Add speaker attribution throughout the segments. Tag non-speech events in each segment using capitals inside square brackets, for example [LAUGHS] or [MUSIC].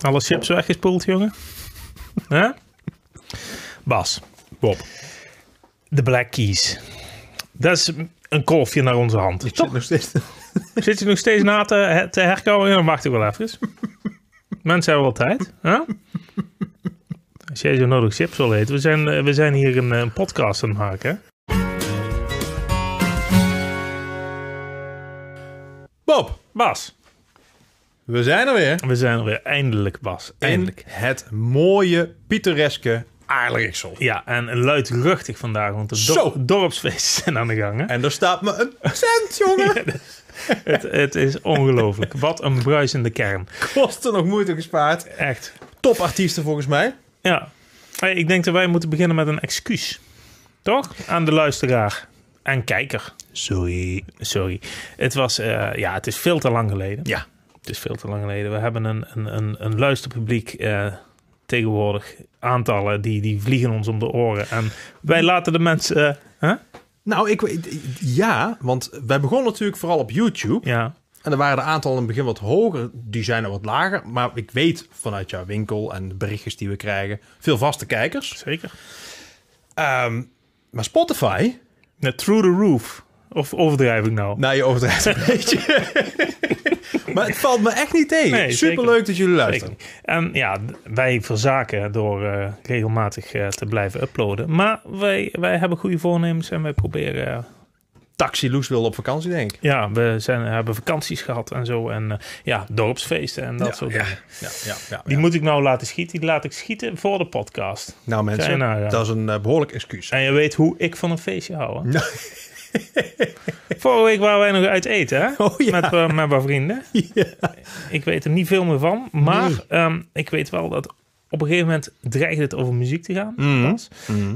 Speaker 1: Alle chips weggespoeld, jongen. Hè? Bas,
Speaker 2: Bob.
Speaker 1: de Black Keys. Dat is een kolfje naar onze hand.
Speaker 2: Ik zit nog steeds.
Speaker 1: Zit je nog steeds na te, te herkouwen? Ja, Dan wacht ik wel even. Mensen hebben wel tijd. Hè? Als jij zo nodig chips wil eten. We zijn, eh, we zijn hier een, eh, een podcast aan het maken. hè?
Speaker 2: Bob,
Speaker 1: Bas,
Speaker 2: we zijn er weer.
Speaker 1: we zijn er weer. Eindelijk, Bas. Eindelijk.
Speaker 2: In het mooie, pittoreske Aardrijksel.
Speaker 1: Ja, en luidruchtig vandaag, want de dor-
Speaker 2: Zo.
Speaker 1: dorpsfeesten zijn aan de gang. Hè?
Speaker 2: En er staat me een cent, jongen.
Speaker 1: Het, het is ongelooflijk. Wat een bruisende kern.
Speaker 2: Kosten nog moeite gespaard.
Speaker 1: Echt.
Speaker 2: Topartiesten volgens mij.
Speaker 1: Ja. Hey, ik denk dat wij moeten beginnen met een excuus. Toch? Aan de luisteraar. En kijker.
Speaker 2: Sorry.
Speaker 1: Sorry. Het was, eh, ja, het is veel te lang geleden.
Speaker 2: Ja.
Speaker 1: Het is veel te lang geleden. We hebben een, een, een, een luisterpubliek eh, tegenwoordig. Aantallen die, die vliegen ons om de oren. En wij laten de mensen... eh, hè?
Speaker 2: Nou, ik weet... Ja, want wij begonnen natuurlijk vooral op YouTube.
Speaker 1: Ja.
Speaker 2: En er waren de aantallen in het begin wat hoger. Die zijn er wat lager. Maar ik weet vanuit jouw winkel en de berichtjes die we krijgen... veel vaste kijkers.
Speaker 1: Zeker.
Speaker 2: Ehm, maar Spotify...
Speaker 1: Net through the roof. Of overdrijf ik nou?
Speaker 2: Nou, je overdrijft
Speaker 1: [LAUGHS]
Speaker 2: een beetje. maar het valt me echt niet tegen.
Speaker 1: Nee, zeker.
Speaker 2: Superleuk dat jullie
Speaker 1: Zeker
Speaker 2: luisteren.
Speaker 1: niet. En ja, d- wij verzaken door eh, regelmatig eh, te blijven uploaden. Maar wij, wij hebben goede voornemens en wij proberen. eh,
Speaker 2: Taxi Loes wil op vakantie, denk ik.
Speaker 1: ja, we zijn, hebben vakanties gehad en zo. En eh, ja, dorpsfeesten en dat soort dingen.
Speaker 2: Ja, ja, ja,
Speaker 1: Die moet ik nou laten schieten. Die laat ik schieten voor de podcast.
Speaker 2: Nou mensen,
Speaker 1: Zijn nou, ja.
Speaker 2: dat is een eh, behoorlijk excuus.
Speaker 1: En je weet hoe ik van een feestje hou. Hè? Vorige week waren wij nog uit eten, hè?
Speaker 2: [LAUGHS] Oh, ja.
Speaker 1: met, eh, met mijn
Speaker 2: [LAUGHS]
Speaker 1: vrienden. Ik weet er niet veel meer van. Maar ehm, ik weet wel dat op een gegeven moment dreigde het over muziek te gaan.
Speaker 2: Mhm.
Speaker 1: Bas.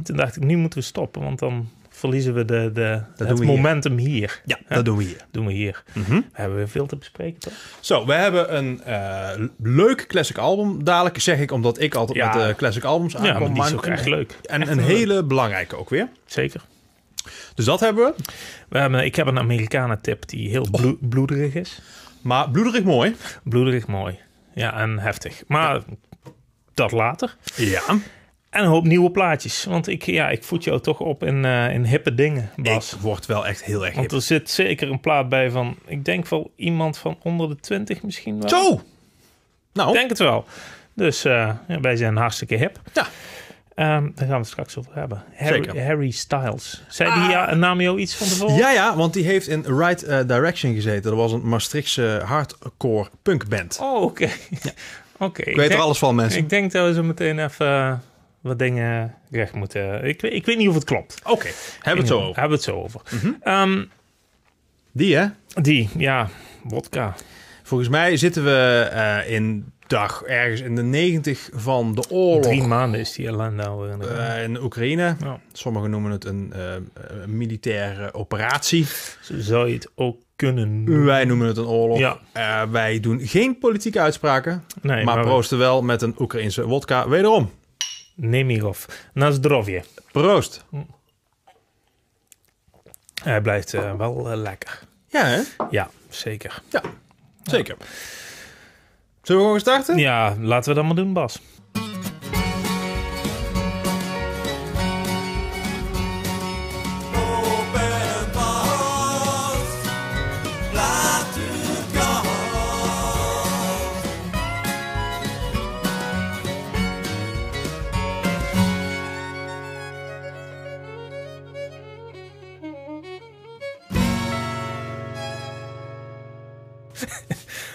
Speaker 1: Toen dacht ik, nu moeten we stoppen, want dan verliezen we de, de,
Speaker 2: doen
Speaker 1: het
Speaker 2: we hier.
Speaker 1: momentum hier. Mhm.
Speaker 2: Ja, dat doen we hier.
Speaker 1: Doen we hier. We hebben weer veel te bespreken, toch?
Speaker 2: Zo, we hebben een eh, leuk classic album. Dadelijk zeg ik, omdat ik altijd
Speaker 1: Ja.
Speaker 2: met de classic albums aankom.
Speaker 1: Ja, maar die is
Speaker 2: maar
Speaker 1: ook
Speaker 2: een-
Speaker 1: echt leuk.
Speaker 2: En een hele belangrijke ook weer.
Speaker 1: Zeker.
Speaker 2: Dus dat hebben we.
Speaker 1: We hebben, ik heb een Amerikanen-tip die heel bloe- bloederig is.
Speaker 2: Maar bloederig mooi.
Speaker 1: Bloederig mooi. Ja, en heftig. Maar dat later.
Speaker 2: Ja.
Speaker 1: En een hoop nieuwe plaatjes. Want ik, ja, ik voed jou toch op in, eh, in hippe dingen, Bas.
Speaker 2: Ik word wel echt heel erg
Speaker 1: Want
Speaker 2: hip.
Speaker 1: er zit zeker een plaat bij van... Ik denk wel iemand van onder de 20 misschien wel.
Speaker 2: Zo! Nou,
Speaker 1: Ik denk het wel. Dus eh, ja, wij zijn hartstikke hip.
Speaker 2: Ja.
Speaker 1: Ehm, daar gaan we het straks over hebben. Harry,
Speaker 2: Zeker.
Speaker 1: Harry Styles. Zei die ja, naam jou iets van tevoren?
Speaker 2: Ja, ja, want die heeft in Right eh, Direction gezeten. Dat was een Maastrichtse hardcore punkband.
Speaker 1: Oh, oké. [LAUGHS] Oké.
Speaker 2: ik weet er
Speaker 1: denk-
Speaker 2: alles van, mensen.
Speaker 1: Ik denk dat we zo meteen even eh, wat dingen recht moeten... Ik, weet- ik weet niet of het klopt.
Speaker 2: Oké, hebben we
Speaker 1: Hebben
Speaker 2: het zo over. Mhm.
Speaker 1: we het zo over. Ehm,
Speaker 2: Die, hè?
Speaker 1: die, ja, wodka.
Speaker 2: Oh. Volgens mij zitten we eh, in dag ergens in de 90 van de oorlog
Speaker 1: Drie maanden is die ellende al in de gang.
Speaker 2: eh, in Oekraïne.
Speaker 1: Ja.
Speaker 2: Sommigen noemen het een eh, eh, militaire operatie.
Speaker 1: Zo zou je het ook kunnen
Speaker 2: Wij noemen het een oorlog.
Speaker 1: Ja.
Speaker 2: Eh, wij doen geen politieke uitspraken,
Speaker 1: Nee,
Speaker 2: maar,
Speaker 1: maar we-
Speaker 2: proosten wel met een Oekraïnse wodka. Wederom,
Speaker 1: Nemirov. Na zdrowje.
Speaker 2: proost.
Speaker 1: Hij blijft eh, wel eh, lekker.
Speaker 2: Ja, hè?
Speaker 1: Ja, zeker.
Speaker 2: Ja, zeker. Zullen we gewoon starten?
Speaker 1: Ja, laten we dat maar doen, Bas.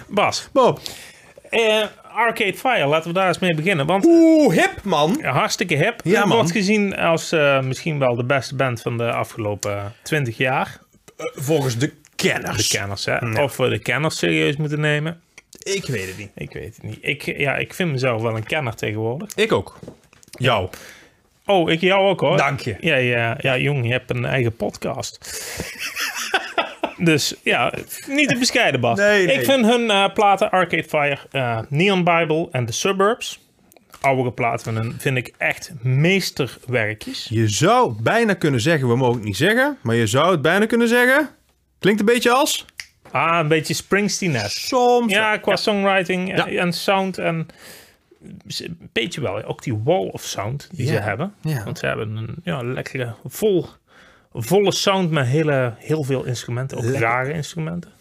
Speaker 1: Bas,
Speaker 2: Bob.
Speaker 1: eh, Arcade Fire, laten we daar eens mee beginnen. Want
Speaker 2: Oeh, hip man.
Speaker 1: hartstikke hip.
Speaker 2: Ja, man.
Speaker 1: Wordt gezien als eh, misschien wel de beste band van de afgelopen 20 jaar.
Speaker 2: Volgens de
Speaker 1: De
Speaker 2: kenners.
Speaker 1: kenners, hè? Of we de kenners serieus moeten nemen.
Speaker 2: ik weet het niet.
Speaker 1: Ik weet het niet. Ik, ja, ik vind mezelf wel een kenner tegenwoordig.
Speaker 2: Ik ook. Jou.
Speaker 1: Oh, ik jou ook hoor.
Speaker 2: Dank je.
Speaker 1: Ja, ja, ja jong, je hebt een eigen podcast. dus ja, niet te bescheiden, Bas.
Speaker 2: Nee, nee.
Speaker 1: Ik vind hun eh, platen Arcade Fire, eh, Neon Bible en The Suburbs, oudere platen van hun, vind ik echt meesterwerkjes.
Speaker 2: Je zou bijna kunnen zeggen, we mogen het niet zeggen, maar je zou het bijna kunnen zeggen. Klinkt een beetje als
Speaker 1: Ah, een beetje Springsteen-esque.
Speaker 2: Soms.
Speaker 1: Ja, qua songwriting en-
Speaker 2: Ja.
Speaker 1: en sound en een beetje wel. Ook die wall of sound die ze
Speaker 2: Ja.
Speaker 1: hebben.
Speaker 2: Ja.
Speaker 1: Want ze hebben een ja, lekkere, vol, volle sound met hele, heel veel instrumenten. Ook
Speaker 2: Lekker.
Speaker 1: rare instrumenten.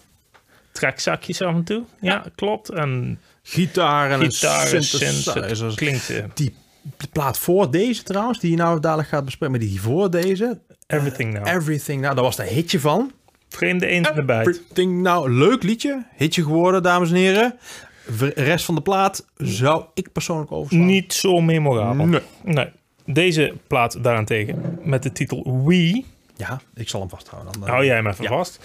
Speaker 1: Trekzakjes af en toe. Ja, klopt. En
Speaker 2: Gitaren en
Speaker 1: gitaren, synths, het
Speaker 2: synthesizers.
Speaker 1: klinkt eh,
Speaker 2: Die de plaat voor deze trouwens, die je nou dadelijk gaat bespreken, maar die voor deze,
Speaker 1: everything
Speaker 2: Oh.
Speaker 1: now.
Speaker 2: Everything Now, daar was de hitje van.
Speaker 1: Vreemde eend in de bijt.
Speaker 2: Everything Now, nou, leuk liedje, hitje geworden, dames en heren. Ver- Rest van de plaat zou ik persoonlijk overslaan.
Speaker 1: Niet zo memorabel.
Speaker 2: Nee.
Speaker 1: nee. Deze plaat daarentegen met de titel We...
Speaker 2: Ja, ik zal hem vasthouden. Dan, eh,
Speaker 1: Hou jij hem even
Speaker 2: ja.
Speaker 1: vast.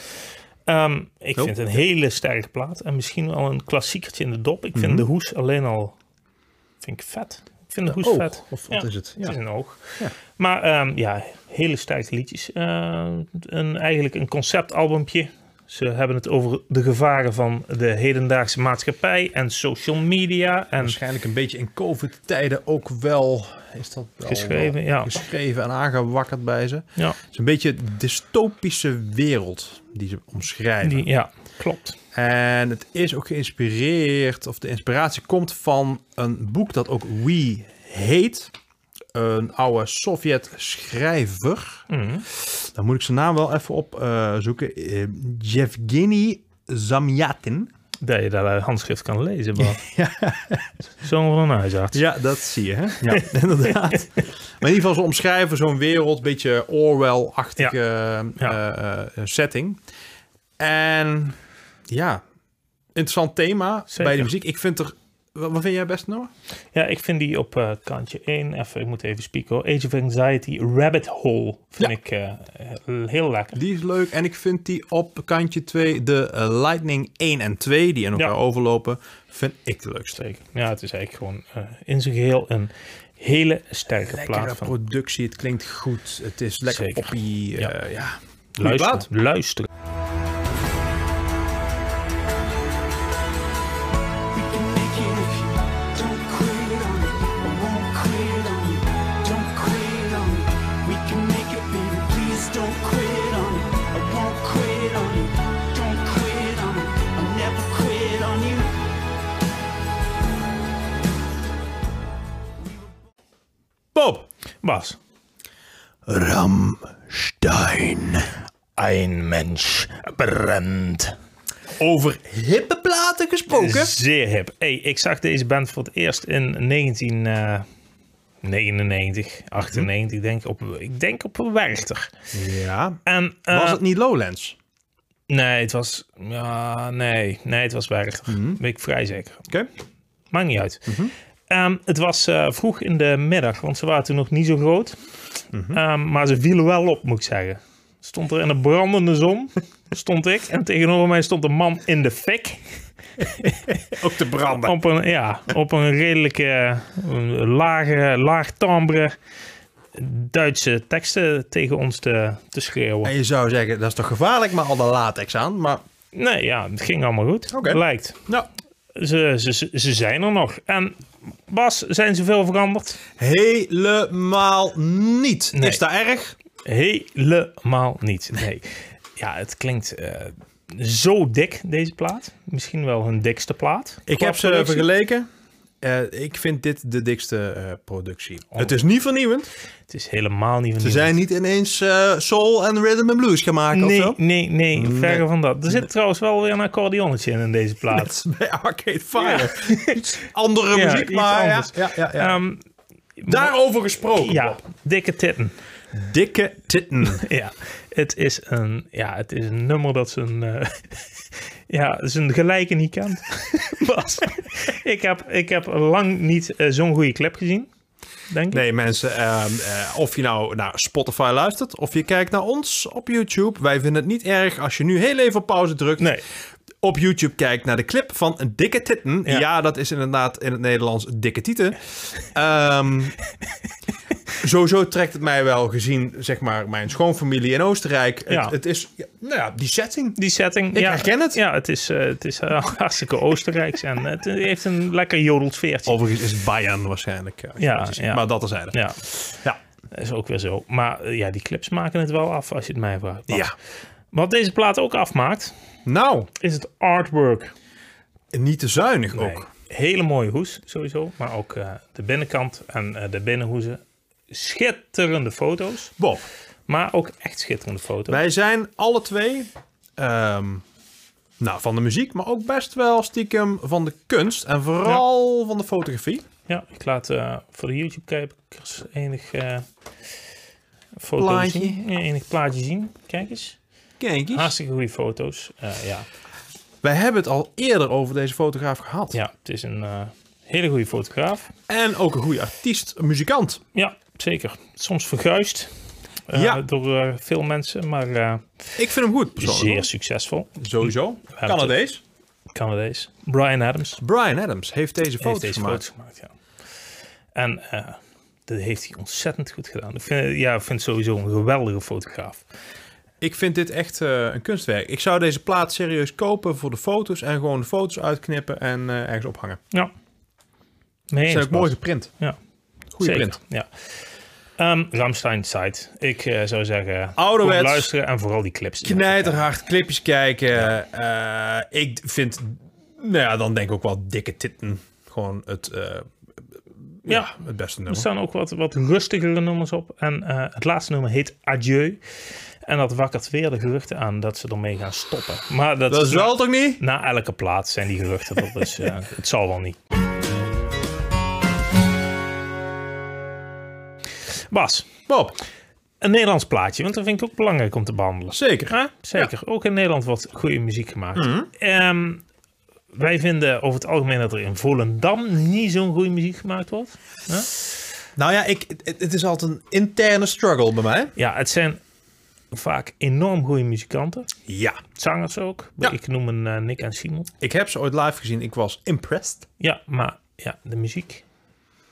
Speaker 1: Ehm, ik
Speaker 2: Oh.
Speaker 1: vind het een hele sterke plaat. En misschien wel een klassiekertje in de dop. Ik vind
Speaker 2: Mhm.
Speaker 1: de hoes alleen al vind ik vet. Ik vind de hoes
Speaker 2: oog,
Speaker 1: vet.
Speaker 2: of wat is het?
Speaker 1: Het
Speaker 2: Ja.
Speaker 1: is een oog.
Speaker 2: Ja.
Speaker 1: Maar ehm, ja, hele sterke liedjes. Eh, een, eigenlijk een conceptalbumpje. Ze hebben het over de gevaren van de hedendaagse maatschappij en social media. En
Speaker 2: Waarschijnlijk een beetje in COVID-tijden ook wel, is dat wel eh,
Speaker 1: Geschreven, ja.
Speaker 2: geschreven en aangewakkerd bij ze.
Speaker 1: ja,
Speaker 2: Het is een beetje een dystopische wereld die ze omschrijven.
Speaker 1: die, ja, klopt.
Speaker 2: En het is ook geïnspireerd, of de inspiratie komt van een boek dat ook We heet. Een oude Sovjet-schrijver.
Speaker 1: Mhm.
Speaker 2: Dan moet ik zijn naam wel even eh, opzoeken. Yevgeny Zamyatin.
Speaker 1: Dat je dat eh, handschrift kan lezen.
Speaker 2: [LAUGHS]
Speaker 1: Ja. Zo'n van een huisarts.
Speaker 2: Ja, dat zie je, hè? Ja, [LAUGHS] inderdaad. Maar in ieder geval, ze omschrijven zo'n wereld, beetje Orwell-achtige
Speaker 1: Ja.
Speaker 2: eh, eh, setting. En ja, interessant thema bij
Speaker 1: Zeker.
Speaker 2: de muziek. Ik vind er, wat wat vind jij best nummer?
Speaker 1: Ja, ik vind die op eh, kantje 1, even, ik moet even spieken hoor. Age of Anxiety, Rabbit Hole, vind
Speaker 2: Ja.
Speaker 1: ik eh, eh, heel lekker.
Speaker 2: Die is leuk en ik vind die op kantje 2, de eh, Lightning 1 en 2, die in elkaar
Speaker 1: Ja.
Speaker 2: overlopen, vind ik de leukste.
Speaker 1: Zeker. Ja, het is eigenlijk gewoon eh, in zijn geheel een hele sterke
Speaker 2: Lekkere
Speaker 1: plaat van
Speaker 2: productie, het klinkt goed, het is lekker
Speaker 1: Zeker.
Speaker 2: poppy.
Speaker 1: Ja.
Speaker 2: ja. ja. Goeie plaat.
Speaker 1: luisteren. luisteren.
Speaker 3: We can make it if you don't quit on it. I won't quit on you. Don't quit on it. We can make it, baby. Please don't quit on it. I won't quit on you. Don't quit on it. I'll never quit on you.
Speaker 2: Bob!
Speaker 1: Bas,
Speaker 2: Ramstein.
Speaker 1: een mens brand.
Speaker 2: Over hippe platen gesproken.
Speaker 1: Zeer hip. Hey, ik zag deze band voor het eerst in 1999,
Speaker 2: Hm?
Speaker 1: 98 denk ik, op, ik denk op een Werchter.
Speaker 2: Ja.
Speaker 1: En, eh,
Speaker 2: Was het niet Lowlands?
Speaker 1: Nee, het was. Ja, nee, nee, het was Werchter. Weet ik vrij zeker.
Speaker 2: Oké.
Speaker 1: Maakt niet uit. Ehm, het was eh, vroeg in de middag, want ze waren toen nog niet zo groot. Ehm, maar ze vielen wel op, moet ik zeggen. Stond er in de brandende zon, stond ik. En tegenover mij stond een man in de fik.
Speaker 2: Ook de branden.
Speaker 1: Op een, ja, op een redelijke eh, lage, laag timbre Duitse teksten tegen ons te, te schreeuwen.
Speaker 2: En je zou zeggen, dat is toch gevaarlijk met al dat latex aan? Maar
Speaker 1: Nee, ja, het ging allemaal goed.
Speaker 2: Oké.
Speaker 1: Lijkt.
Speaker 2: nou,
Speaker 1: ze, ze, ze- ze zijn er nog. En Bas, zijn ze veel veranderd?
Speaker 2: helemaal niet.
Speaker 1: Nee.
Speaker 2: Is dat erg?
Speaker 1: Helemaal niet. Nee. [LAUGHS] Ja, het klinkt eh, zo dik, deze plaat. Misschien wel hun dikste plaat.
Speaker 2: Ik
Speaker 1: Qua
Speaker 2: heb ze
Speaker 1: productie.
Speaker 2: vergeleken. Eh, ik vind dit de dikste eh, productie. Het is niet vernieuwend.
Speaker 1: Het is helemaal niet van
Speaker 2: Ze zijn niet ineens eh, soul en rhythm and blues gaan maken of
Speaker 1: Nee,
Speaker 2: zo.
Speaker 1: nee, nee, verre van dat. Er zit trouwens wel weer een accordeonnetje in in deze
Speaker 2: Dat [LAUGHS]
Speaker 1: plaat.
Speaker 2: is bij Arcade Fire. Iets andere
Speaker 1: Ja,
Speaker 2: muziek,
Speaker 1: iets
Speaker 2: maar ja,
Speaker 1: anders.
Speaker 2: ja, ja, ja.
Speaker 1: Ehm,
Speaker 2: Daarover gesproken,
Speaker 1: ja,
Speaker 2: Bob.
Speaker 1: dikke titten.
Speaker 2: Dikke titten. [LAUGHS]
Speaker 1: Ja, het is een, ja, het is een nummer dat zijn, eh [LAUGHS] ja, zijn gelijke niet kent. [LAUGHS] Bas, ik heb, ik heb lang niet eh, zo'n goede clip gezien, denk ik.
Speaker 2: Nee, mensen, ehm, eh, of je nou naar Spotify luistert of je kijkt naar ons op YouTube. Wij vinden het niet erg als je nu heel even op pauze drukt.
Speaker 1: Nee.
Speaker 2: Op YouTube kijkt naar de clip van een dikke titten. Ja.
Speaker 1: Ja.
Speaker 2: dat is inderdaad in het Nederlands dikke tieten. Ehm, [LAUGHS] sowieso trekt het mij wel gezien, zeg maar, mijn schoonfamilie in Oostenrijk.
Speaker 1: Ja.
Speaker 2: Het, het is, ja, nou ja, die setting.
Speaker 1: Die setting.
Speaker 2: Ik
Speaker 1: ja,
Speaker 2: herken het.
Speaker 1: Ja, het is, eh, het is eh, [LAUGHS] hartstikke Oostenrijks en het heeft een lekker jodelsfeertje.
Speaker 2: Overigens is het Bayern waarschijnlijk. eh,
Speaker 1: Ja,
Speaker 2: precies.
Speaker 1: ja.
Speaker 2: Maar dat is eigenlijk.
Speaker 1: Ja,
Speaker 2: Ja.
Speaker 1: dat is ook weer zo. Maar eh, ja, die clips maken het wel af, als je het mij vraagt. Bas.
Speaker 2: Ja.
Speaker 1: Wat deze plaat ook afmaakt,
Speaker 2: Nou,
Speaker 1: is het artwork.
Speaker 2: niet te zuinig ook.
Speaker 1: Hele mooie hoes sowieso, maar ook eh, de binnenkant en eh, de binnenhoezen. Schitterende foto's,
Speaker 2: Bob,
Speaker 1: maar ook echt schitterende foto's.
Speaker 2: wij zijn alle twee ehm, nou, van de muziek, maar ook best wel stiekem van de kunst. En vooral van de fotografie.
Speaker 1: Ja, ik laat eh, voor de YouTube-kijkers enig eh foto
Speaker 2: Plaatje.
Speaker 1: zien. Ja, enig plaatje zien. Kijk eens.
Speaker 2: Kijk
Speaker 1: Hartstikke goede foto's. Eh, ja.
Speaker 2: Ah. Wij hebben het al eerder over deze fotograaf gehad.
Speaker 1: ja, het is een eh, hele goede fotograaf.
Speaker 2: En ook een goede artiest, muzikant.
Speaker 1: Ja, zeker. Soms verguisd eh,
Speaker 2: Ja.
Speaker 1: door eh, veel mensen, maar eh,
Speaker 2: Ik vind hem goed,
Speaker 1: zeer
Speaker 2: persoonlijk.
Speaker 1: succesvol.
Speaker 2: Sowieso.
Speaker 1: het-
Speaker 2: Canadees.
Speaker 1: Canadees. Brian Adams
Speaker 2: Brian Adams heeft deze
Speaker 1: heeft
Speaker 2: foto's
Speaker 1: deze
Speaker 2: gemaakt.
Speaker 1: foto's gemaakt. Ja. En eh, dat heeft hij ontzettend goed gedaan. Ik vind, ja, ik vind sowieso een geweldige fotograaf.
Speaker 2: Ik vind dit echt eh, een kunstwerk. Ik zou deze plaat serieus kopen voor de foto's en gewoon de foto's uitknippen en eh, ergens ophangen.
Speaker 1: Ja. Nee,
Speaker 2: Ze zijn ook mooi geprint.
Speaker 1: Ja.
Speaker 2: Goede
Speaker 1: Zeker,
Speaker 2: print.
Speaker 1: Ja. Ehm Ramstein site. Ik eh, zou zeggen,
Speaker 2: Ouderwets.
Speaker 1: goed luisteren en vooral die clips.
Speaker 2: Knijterhard, clipjes kijken. Eh, ik vind, nou ja, dan denk ik ook wel dikke titten. Gewoon het, eh,
Speaker 1: Ja.
Speaker 2: het beste
Speaker 1: Er
Speaker 2: nummer.
Speaker 1: staan ook wat, wat rustigere nummers op. En eh, het laatste nummer heet Adieu. En dat wakkert weer de geruchten aan dat ze ermee gaan stoppen. Maar dat,
Speaker 2: Dat is
Speaker 1: na-
Speaker 2: wel toch niet?
Speaker 1: Na, elke plaats zijn die geruchten. Dat dus, eh, het zal wel niet. Bas,
Speaker 2: Bob,
Speaker 1: een Nederlands plaatje. Want dat vind ik ook belangrijk om te behandelen.
Speaker 2: zeker.
Speaker 1: Hè? Zeker. Ook in Nederland wordt goede muziek gemaakt. Ehm, wij vinden over het algemeen dat er in Volendam niet zo'n goede muziek gemaakt wordt. Hè?
Speaker 2: Nou ja, ik, het, het is altijd een interne struggle bij mij.
Speaker 1: Ja, het zijn vaak enorm goede muzikanten.
Speaker 2: Ja.
Speaker 1: Zangers ook.
Speaker 2: Ja.
Speaker 1: Ik noem een eh, Nick en Simon.
Speaker 2: Ik heb ze ooit live gezien. Ik was impressed.
Speaker 1: Ja, maar ja, de muziek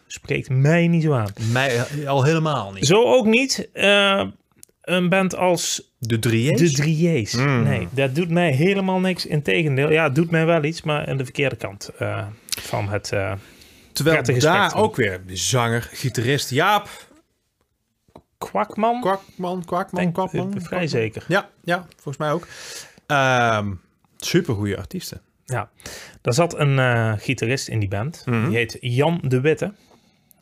Speaker 1: spreekt mij niet zo aan.
Speaker 2: Mij al helemaal niet.
Speaker 1: Zo ook niet eh, een band als
Speaker 2: De drieërs?
Speaker 1: De Drieërs. Nee, dat doet mij helemaal niks. Integendeel, ja, het doet mij wel iets, maar aan de verkeerde kant eh, van het... eh,
Speaker 2: Terwijl daar
Speaker 1: prettige spectrum.
Speaker 2: ook weer zanger, gitarist Jaap
Speaker 1: Kwakman.
Speaker 2: Kwakman, Kwakman,
Speaker 1: Denk-
Speaker 2: Kwakman.
Speaker 1: eh, vrij
Speaker 2: Kwakman.
Speaker 1: zeker.
Speaker 2: Ja, ja, volgens mij ook. Ehm supergoeie artiesten.
Speaker 1: Ja. Daar zat een eh, gitarist in die band. Die heet Jan de Witte.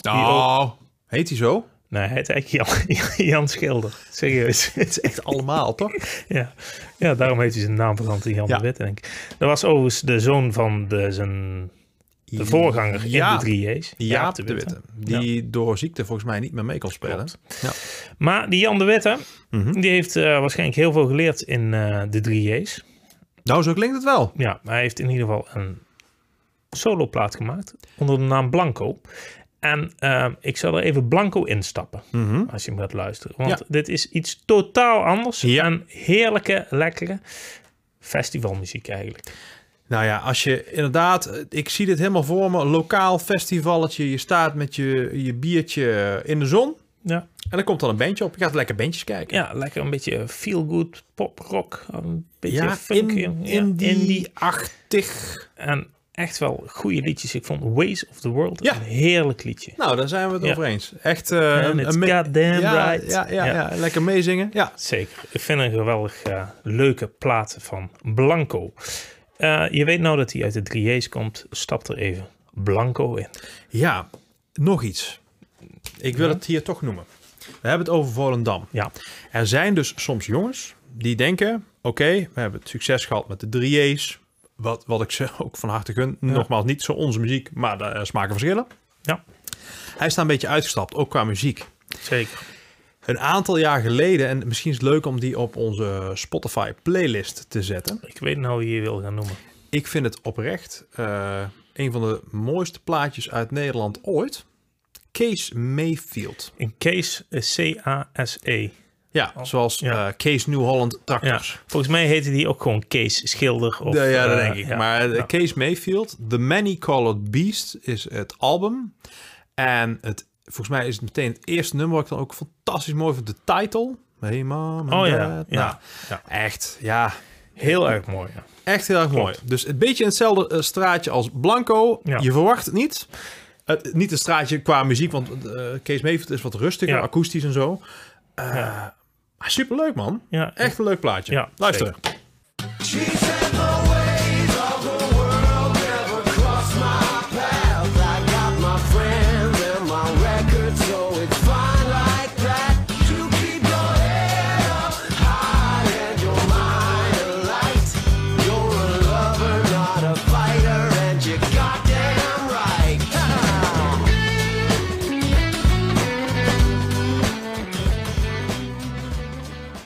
Speaker 2: Oh, heet hij zo?
Speaker 1: Nee, hij heet eigenlijk Jan, [LAUGHS] Jan Schilder.
Speaker 2: [LAUGHS]
Speaker 1: Serieus. Het is echt-
Speaker 2: Echt allemaal, [LAUGHS] toch?
Speaker 1: [LAUGHS] ja. ja, daarom heet hij zijn naam veranderd in Jan
Speaker 2: Ja.
Speaker 1: de Witte, denk ik. Dat was overigens de zoon van de, zijn, de voorganger in
Speaker 2: Ja.
Speaker 1: de 3J's.
Speaker 2: Jaap de Witte. Die door ziekte volgens mij niet meer mee kon spelen. Ja.
Speaker 1: Maar die Jan de Witte,
Speaker 2: Mhm.
Speaker 1: die heeft eh, waarschijnlijk heel veel geleerd in eh, de 3J's.
Speaker 2: Nou, zo klinkt het wel.
Speaker 1: Ja, maar hij heeft in ieder geval een soloplaat gemaakt onder de naam Blanco. En eh, ik zal er even Blanco instappen als je hem gaat luisteren. Want
Speaker 2: Mhm. Ja.
Speaker 1: dit is iets totaal anders.
Speaker 2: Ja.
Speaker 1: En heerlijke, lekkere festivalmuziek eigenlijk.
Speaker 2: Nou ja, als je inderdaad, eh, ik zie dit helemaal voor me, een lokaal festivalletje. Je staat met je, je biertje in de zon
Speaker 1: Ja,
Speaker 2: en er komt dan een bandje op. Je gaat lekker bandjes kijken.
Speaker 1: ja lekker een beetje feel-good pop, rock. Een beetje
Speaker 2: Ja,
Speaker 1: funk.
Speaker 2: in,
Speaker 1: ja,
Speaker 2: indie-achtig.
Speaker 1: En echt wel goede liedjes. Ik vond Ways of the World
Speaker 2: Ja.
Speaker 1: een heerlijk liedje.
Speaker 2: Nou, daar zijn we het
Speaker 1: Ja.
Speaker 2: over eens. Echt eh,
Speaker 1: En it's
Speaker 2: me-
Speaker 1: goddamn
Speaker 2: ja,
Speaker 1: right.
Speaker 2: Ja, ja, ja,
Speaker 1: Ja.
Speaker 2: lekker meezingen. Ja.
Speaker 1: Zeker. Ik vind een geweldig eh, leuke plaat van Blanco. Eh, je weet nou dat hij uit de 3J's komt. Stap er even Blanco in.
Speaker 2: ja, nog iets. Ik wil het hier toch noemen. We hebben het over Volendam.
Speaker 1: Ja,
Speaker 2: Er zijn dus soms jongens die denken... oké, we hebben het succes gehad met de 3J's. Wat, wat ik ze [LAUGHS] ook van harte gun. Nogmaals, niet zo onze muziek, maar de eh, smaken verschillen.
Speaker 1: ja
Speaker 2: Hij is daar een beetje uitgestapt, ook qua muziek.
Speaker 1: zeker.
Speaker 2: Een aantal jaar geleden, en misschien is het leuk om die op onze Spotify playlist te zetten.
Speaker 1: Ik weet nou wie je wil gaan noemen.
Speaker 2: Ik vind het oprecht eh, een van de mooiste plaatjes uit Nederland ooit. Kees Mayfield.
Speaker 1: In Case is C-A-S-E.
Speaker 2: Ja, zoals
Speaker 1: Oh, ja.
Speaker 2: eh, Kees New Holland
Speaker 1: E. Ja,
Speaker 2: Tractors.
Speaker 1: volgens mij heette die ook gewoon Case Schilder. Of,
Speaker 2: De- ja, dat
Speaker 1: eh,
Speaker 2: denk ik.
Speaker 1: ja.
Speaker 2: Maar eh,
Speaker 1: Ja.
Speaker 2: Kees Mayfield, The Many Colored Beast is het album. En het, volgens mij is het meteen het eerste nummer wat ik dan ook fantastisch mooi vind. De title. Hey mom and
Speaker 1: Oh ja,
Speaker 2: Dad.
Speaker 1: ja,
Speaker 2: Nou,
Speaker 1: ja.
Speaker 2: Echt, ja.
Speaker 1: Heel erg mooi. ja.
Speaker 2: Echt heel erg mooi. Dus een beetje in hetzelfde eh, straatje als Blanco.
Speaker 1: Ja.
Speaker 2: Je verwacht het niet. Het- niet een straatje qua muziek, want eh, Kees Mayfield is wat rustiger,
Speaker 1: Ja.
Speaker 2: akoestisch en zo. Eh, Maar superleuk, man.
Speaker 1: Ja.
Speaker 2: Echt een leuk plaatje.
Speaker 1: Ja,
Speaker 2: Luister.
Speaker 3: Just She said the ways of the world never crossed my path. I got my friends and my record, so it's fine like that. To keep your head up high and your mind light. You're a lover, not a fighter, and you're goddamn right.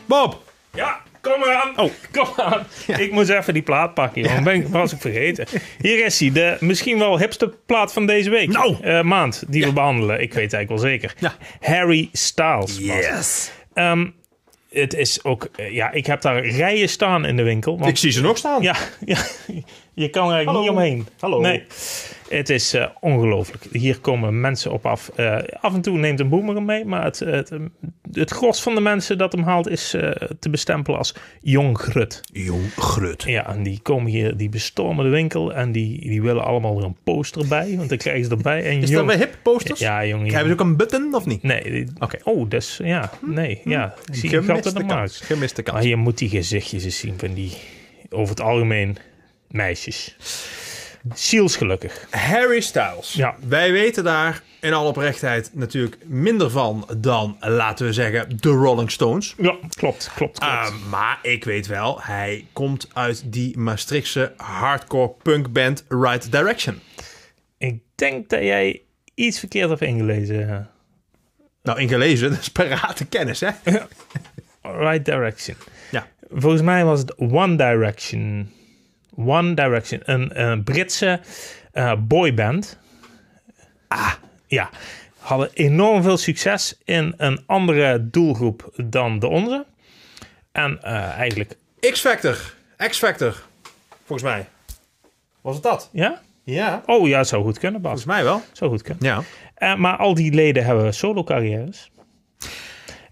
Speaker 2: Bob!
Speaker 1: Ja, kom eraan. Oh, kom eraan. Ik moest even die plaat pakken, jongen. Ben ik, was ik vergeten. Hier is hij, de misschien wel hipste plaat van deze week.
Speaker 2: Nou.
Speaker 1: Eh, maand die we behandelen. Ik weet het eigenlijk wel zeker.
Speaker 2: Ja.
Speaker 1: Harry Styles. was het.
Speaker 2: Yes!
Speaker 1: Ehm, het is ook, eh, ja, ik heb daar rijen staan in de winkel. Want
Speaker 2: Ik zie ze nog staan.
Speaker 1: Ja, [LAUGHS] ja, je kan er eigenlijk niet omheen.
Speaker 2: Hallo.
Speaker 1: Nee. Het is eh, ongelooflijk. Hier komen mensen op af. Eh, af en toe neemt een boemer hem mee, maar het, het, het gros van de mensen dat hem haalt is eh, te bestempelen als jong grut.
Speaker 2: Jong grut.
Speaker 1: Ja, en die komen hier, die bestormen de winkel en die, die willen allemaal er een poster bij, want dan krijgen ze erbij. En
Speaker 2: Is dat
Speaker 1: jong,
Speaker 2: bij hip posters?
Speaker 1: Ja, jongen.
Speaker 2: Hebben ze ook een button of niet?
Speaker 1: Nee, die-
Speaker 2: Oké.
Speaker 1: oh, dus ja, nee, ja. Ik zie je geld in de
Speaker 2: eh, kans.
Speaker 1: markt.
Speaker 2: Gemiste kans.
Speaker 1: Maar je moet die gezichtjes eens zien van die, over het algemeen, meisjes. Zielsgelukkig.
Speaker 2: Harry Styles.
Speaker 1: Ja.
Speaker 2: Wij weten daar in alle oprechtheid natuurlijk minder van dan, laten we zeggen, de Rolling Stones.
Speaker 1: Ja, klopt, klopt, klopt.
Speaker 2: Ah, maar ik weet wel, hij komt uit die Maastrichtse hardcore punkband Right Direction.
Speaker 1: ik denk dat jij iets verkeerd hebt ingelezen.
Speaker 2: Nou, ingelezen, [LAUGHS] dat is parate kennis,
Speaker 1: [LAUGHS]
Speaker 2: hè?
Speaker 1: Right direction.
Speaker 2: Ja.
Speaker 1: Volgens mij was het One Direction. One Direction. Een, een Britse eh, boyband. Ah, ja. Hadden enorm veel succes in een andere doelgroep dan de onze. En eh, eigenlijk,
Speaker 2: X-Factor. X-Factor. Volgens mij. Was het dat?
Speaker 1: ja?
Speaker 2: Ja.
Speaker 1: Oh ja, zou goed kunnen, Bas.
Speaker 2: Volgens mij wel.
Speaker 1: Zou goed kunnen.
Speaker 2: Ja.
Speaker 1: Eh, maar al die leden hebben solo-carrières.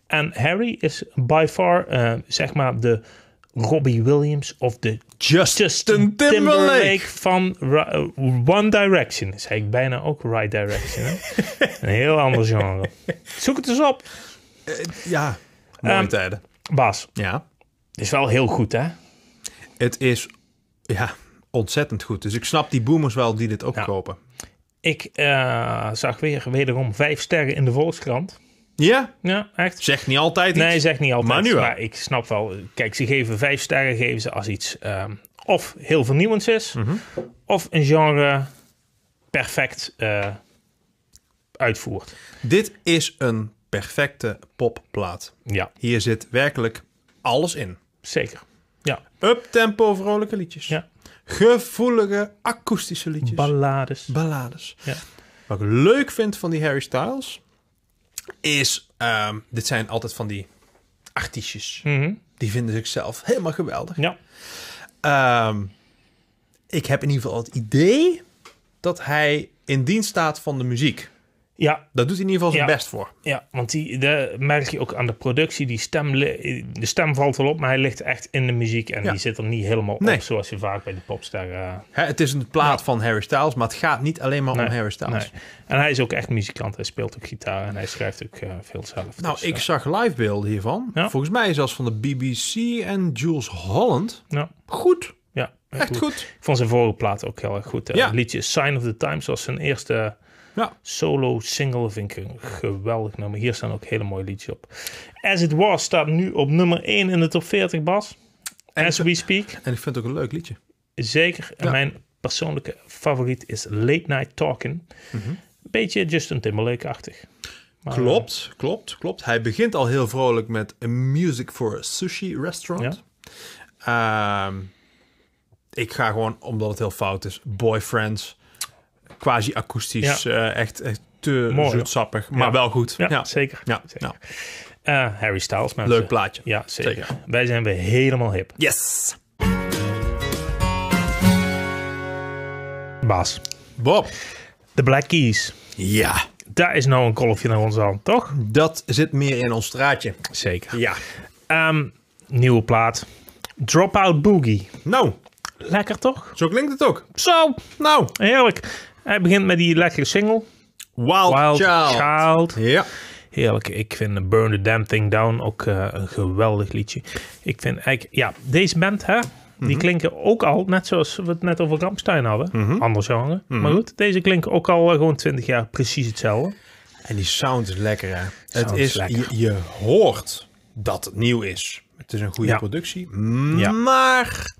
Speaker 1: En Harry is by far, eh, zeg maar, de Robbie Williams of de
Speaker 2: Justin,
Speaker 1: Justin
Speaker 2: Timberlake.
Speaker 1: Timberlake van Ra- eh, One Direction. Is eigenlijk bijna ook Right Direction.
Speaker 2: [LAUGHS]
Speaker 1: hè? Een heel ander genre. Zoek het eens op.
Speaker 2: Ja. Mooie
Speaker 1: Ehm,
Speaker 2: tijden.
Speaker 1: Bas,
Speaker 2: Ja.
Speaker 1: het is wel heel goed, hè?
Speaker 2: Het is ja, ontzettend goed. Dus ik snap die boomers wel die dit ook
Speaker 1: Ja.
Speaker 2: kopen.
Speaker 1: Ik eh, zag weer wederom vijf sterren in de Volkskrant.
Speaker 2: Ja,
Speaker 1: Ja, echt.
Speaker 2: zegt niet altijd iets.
Speaker 1: Nee, zeg niet altijd.
Speaker 2: Maar nu wel.
Speaker 1: ik snap wel. Kijk, ze geven vijf sterren geven ze als iets ehm, of heel vernieuwends is,
Speaker 2: Mhm.
Speaker 1: of een genre perfect eh, uitvoert.
Speaker 2: Dit is een perfecte popplaat.
Speaker 1: Ja,
Speaker 2: Hier zit werkelijk alles in.
Speaker 1: zeker. Ja,
Speaker 2: Uptempo vrolijke liedjes.
Speaker 1: ja.
Speaker 2: Gevoelige akoestische liedjes.
Speaker 1: ballades.
Speaker 2: ballades.
Speaker 1: Ja.
Speaker 2: Wat ik leuk vind van die Harry Styles is, ehm, dit zijn altijd van die
Speaker 1: Mhm.
Speaker 2: artiestjes. Die vinden zichzelf helemaal geweldig.
Speaker 1: Ja,
Speaker 2: Ehm, ik heb in ieder geval het idee dat hij in dienst staat van de muziek.
Speaker 1: ja,
Speaker 2: Daar doet hij in ieder geval zijn
Speaker 1: Ja.
Speaker 2: best voor.
Speaker 1: ja want die, daar merk je ook aan de productie. Die stem, li- de stem valt wel op, maar hij ligt echt in de muziek. En
Speaker 2: Ja.
Speaker 1: die zit er niet helemaal
Speaker 2: Nee.
Speaker 1: op, zoals je vaak bij de popster... eh,
Speaker 2: Hè, het is een plaat van Harry Styles, maar het gaat niet alleen maar
Speaker 1: nee,
Speaker 2: om Harry Styles.
Speaker 1: nee. En hij is ook echt muzikant. Hij speelt ook gitaar en hij schrijft ook eh, veel zelf.
Speaker 2: Nou,
Speaker 1: Dus,
Speaker 2: ik
Speaker 1: eh,
Speaker 2: zag livebeelden hiervan.
Speaker 1: Ja.
Speaker 2: Volgens mij zelfs van de BBC en Jules Holland.
Speaker 1: ja,
Speaker 2: Goed,
Speaker 1: ja,
Speaker 2: echt goed.
Speaker 1: Ik vond zijn vorige plaat ook heel erg goed. hè.
Speaker 2: Ja.
Speaker 1: Het liedje Sign of the Times was zijn eerste
Speaker 2: Ja.
Speaker 1: solo single. Vind ik een geweldig nummer. Hier staan ook hele mooie liedjes op. As It Was staat nu op nummer 1 in de top 40, Bas. As we speak.
Speaker 2: En ik vind het ook een leuk liedje.
Speaker 1: Zeker. En mijn persoonlijke favoriet is Late Night Talking.
Speaker 2: Mhm.
Speaker 1: Beetje Justin Timberlake-achtig. Maar,
Speaker 2: Eh, Klopt, klopt, klopt. Hij begint al heel vrolijk met A Music for a Sushi Restaurant. Ehm, ik ga gewoon, omdat het heel fout is, Boyfriends. Quasi-akoestisch, eh, echt, echt te
Speaker 1: Mooi,
Speaker 2: zoetsappig, maar wel goed.
Speaker 1: Ja, zeker.
Speaker 2: Ja,
Speaker 1: Zeker.
Speaker 2: ja.
Speaker 1: eh, Harry Styles. Mensen.
Speaker 2: Leuk plaatje.
Speaker 1: Ja, zeker.
Speaker 2: Zeker.
Speaker 1: Wij zijn weer helemaal hip.
Speaker 2: Yes!
Speaker 1: Bas.
Speaker 2: Bob.
Speaker 1: De Black Keys.
Speaker 2: Ja,
Speaker 1: Daar is nou een kolfje naar onze hand, toch?
Speaker 2: dat zit meer in ons straatje.
Speaker 1: Zeker.
Speaker 2: Ja.
Speaker 1: Ehm, nieuwe plaat. Dropout Boogie.
Speaker 2: Nou,
Speaker 1: Lekker toch?
Speaker 2: zo klinkt het ook.
Speaker 1: Zo,
Speaker 2: Nou,
Speaker 1: heerlijk. Hij begint met die lekkere single.
Speaker 2: Wild,
Speaker 1: Wild
Speaker 2: Child.
Speaker 1: Child.
Speaker 2: Ja.
Speaker 1: Heerlijk. Ik vind Burn the Damn Thing Down ook eh, een geweldig liedje. Ik vind eigenlijk, ja, deze band, hè? Die klinken ook al, net zoals we het net over Ramstein hadden. Anders genre. Maar goed, deze klinken ook al eh, gewoon 20 jaar precies hetzelfde.
Speaker 2: En die sound is lekker, hè?
Speaker 1: Sound
Speaker 2: het
Speaker 1: is
Speaker 2: is,
Speaker 1: lekker.
Speaker 2: Je, je hoort dat het nieuw is. Het is een goede
Speaker 1: Ja.
Speaker 2: productie.
Speaker 1: Ja.
Speaker 2: Maar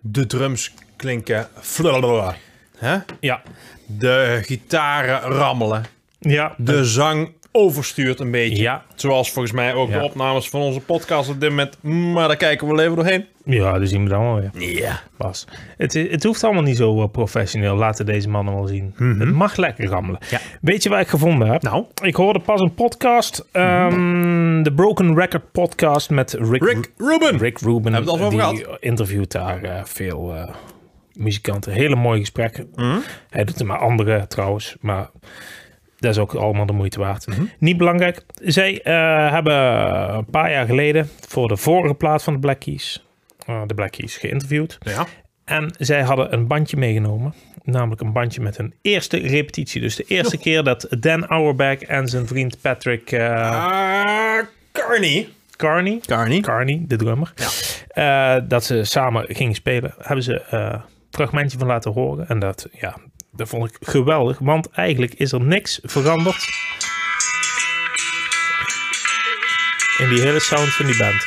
Speaker 2: de drums klinken... flululul, Hè?
Speaker 1: Ja,
Speaker 2: De gitaren rammelen.
Speaker 1: ja,
Speaker 2: De zang overstuurt een beetje.
Speaker 1: Ja.
Speaker 2: Zoals volgens mij ook
Speaker 1: Ja.
Speaker 2: de opnames van onze podcast op dit moment. Maar daar kijken we wel even doorheen.
Speaker 1: ja, dus dat zien we dan wel weer.
Speaker 2: Ja.
Speaker 1: Bas. Het, i- het hoeft allemaal niet zo eh, professioneel. Laten deze mannen wel zien. Het mag lekker rammelen.
Speaker 2: Mhm. Ja.
Speaker 1: Weet je waar ik gevonden heb?
Speaker 2: Nou? Mhm.
Speaker 1: Ik hoorde pas een podcast. ehm, De Broken Record podcast met Rick,
Speaker 2: Rick Rubin.
Speaker 1: Rick Rubin.
Speaker 2: Hebben we het al
Speaker 1: die
Speaker 2: over
Speaker 1: interviewt daar eh, veel eh, muzikanten. Hele mooie gesprekken.
Speaker 2: Mhm.
Speaker 1: Hij doet er maar andere trouwens. Maar dat is ook allemaal de moeite waard.
Speaker 2: Mhm.
Speaker 1: Niet belangrijk. Zij eh, hebben een paar jaar geleden voor de vorige plaat van de Black Keys... eh, de Black Keys geïnterviewd.
Speaker 2: Ja.
Speaker 1: En zij hadden een bandje meegenomen. Namelijk een bandje met hun eerste repetitie. Dus de eerste keer dat Dan Auerbach en zijn vriend Patrick eh,
Speaker 2: Ah, Carney.
Speaker 1: Carney...
Speaker 2: Carney.
Speaker 1: Carney, de drummer. eh, dat ze samen gingen spelen. Hebben ze eh, een fragmentje van laten horen. En dat, ja, dat vond ik geweldig. Want eigenlijk is er niks veranderd. In die hele sound van die band.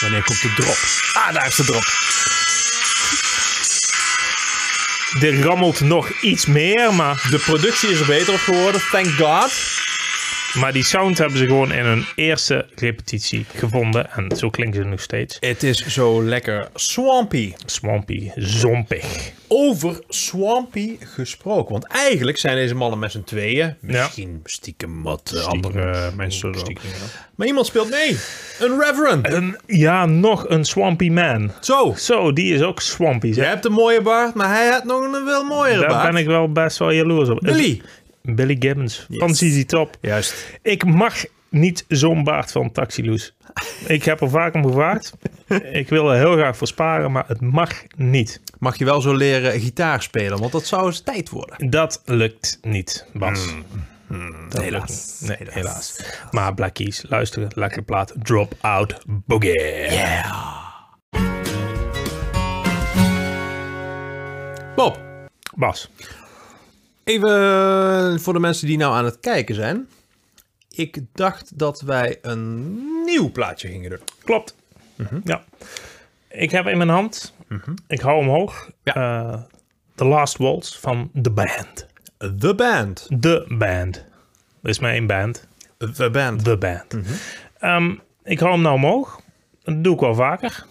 Speaker 2: Wanneer komt de drop? Ah, daar is de drop.
Speaker 1: Er rammelt nog iets meer, maar,
Speaker 2: De productie is er beter op geworden, thank god.
Speaker 1: maar die sound hebben ze gewoon in hun eerste repetitie gevonden. En zo klinken ze nog steeds.
Speaker 2: Het is zo lekker swampy.
Speaker 1: Swampy, zompig.
Speaker 2: Over swampy gesproken. Want eigenlijk zijn deze mannen met z'n tweeën. Misschien stiekem wat eh, andere mensen. er ook. Maar iemand speelt mee. Een reverend.
Speaker 1: Een, ja, nog een swampy man.
Speaker 2: Zo,
Speaker 1: Zo, die is ook swampy.
Speaker 2: jij hebt een mooie baard, maar hij had nog een wel mooiere
Speaker 1: Daar
Speaker 2: baard.
Speaker 1: ben ik wel best wel jaloers op.
Speaker 2: Billy.
Speaker 1: Billy Gibbons van ZZ Top.
Speaker 2: Juist.
Speaker 1: Ik mag niet zo'n baard van Taxi Loes. Ik heb er vaak om
Speaker 2: [LAUGHS]
Speaker 1: gevraagd. ik wil er heel graag voor sparen, maar het mag niet.
Speaker 2: Mag je wel zo leren gitaar spelen, want dat zou eens tijd worden.
Speaker 1: Dat lukt niet, Bas.
Speaker 2: Hmm.
Speaker 1: Dat
Speaker 2: helaas.
Speaker 1: lukt niet. Nee, helaas. Maar Black Keys, luisteren, lekker plaat. Drop Out Boogie.
Speaker 2: Bob,
Speaker 1: Bas,
Speaker 2: even voor de mensen die nou aan het kijken zijn. Ik dacht dat wij een nieuw plaatje gingen doen.
Speaker 1: klopt.
Speaker 2: Mhm.
Speaker 1: Ja. Ik heb in mijn hand, ik hou hem hoog,
Speaker 2: Ja.
Speaker 1: eh, The Last Waltz van The Band.
Speaker 2: The Band.
Speaker 1: De band. Er is maar één band.
Speaker 2: The Band.
Speaker 1: De band.
Speaker 2: Mhm.
Speaker 1: Ehm, ik hou hem nou omhoog. Dat doe ik wel vaker.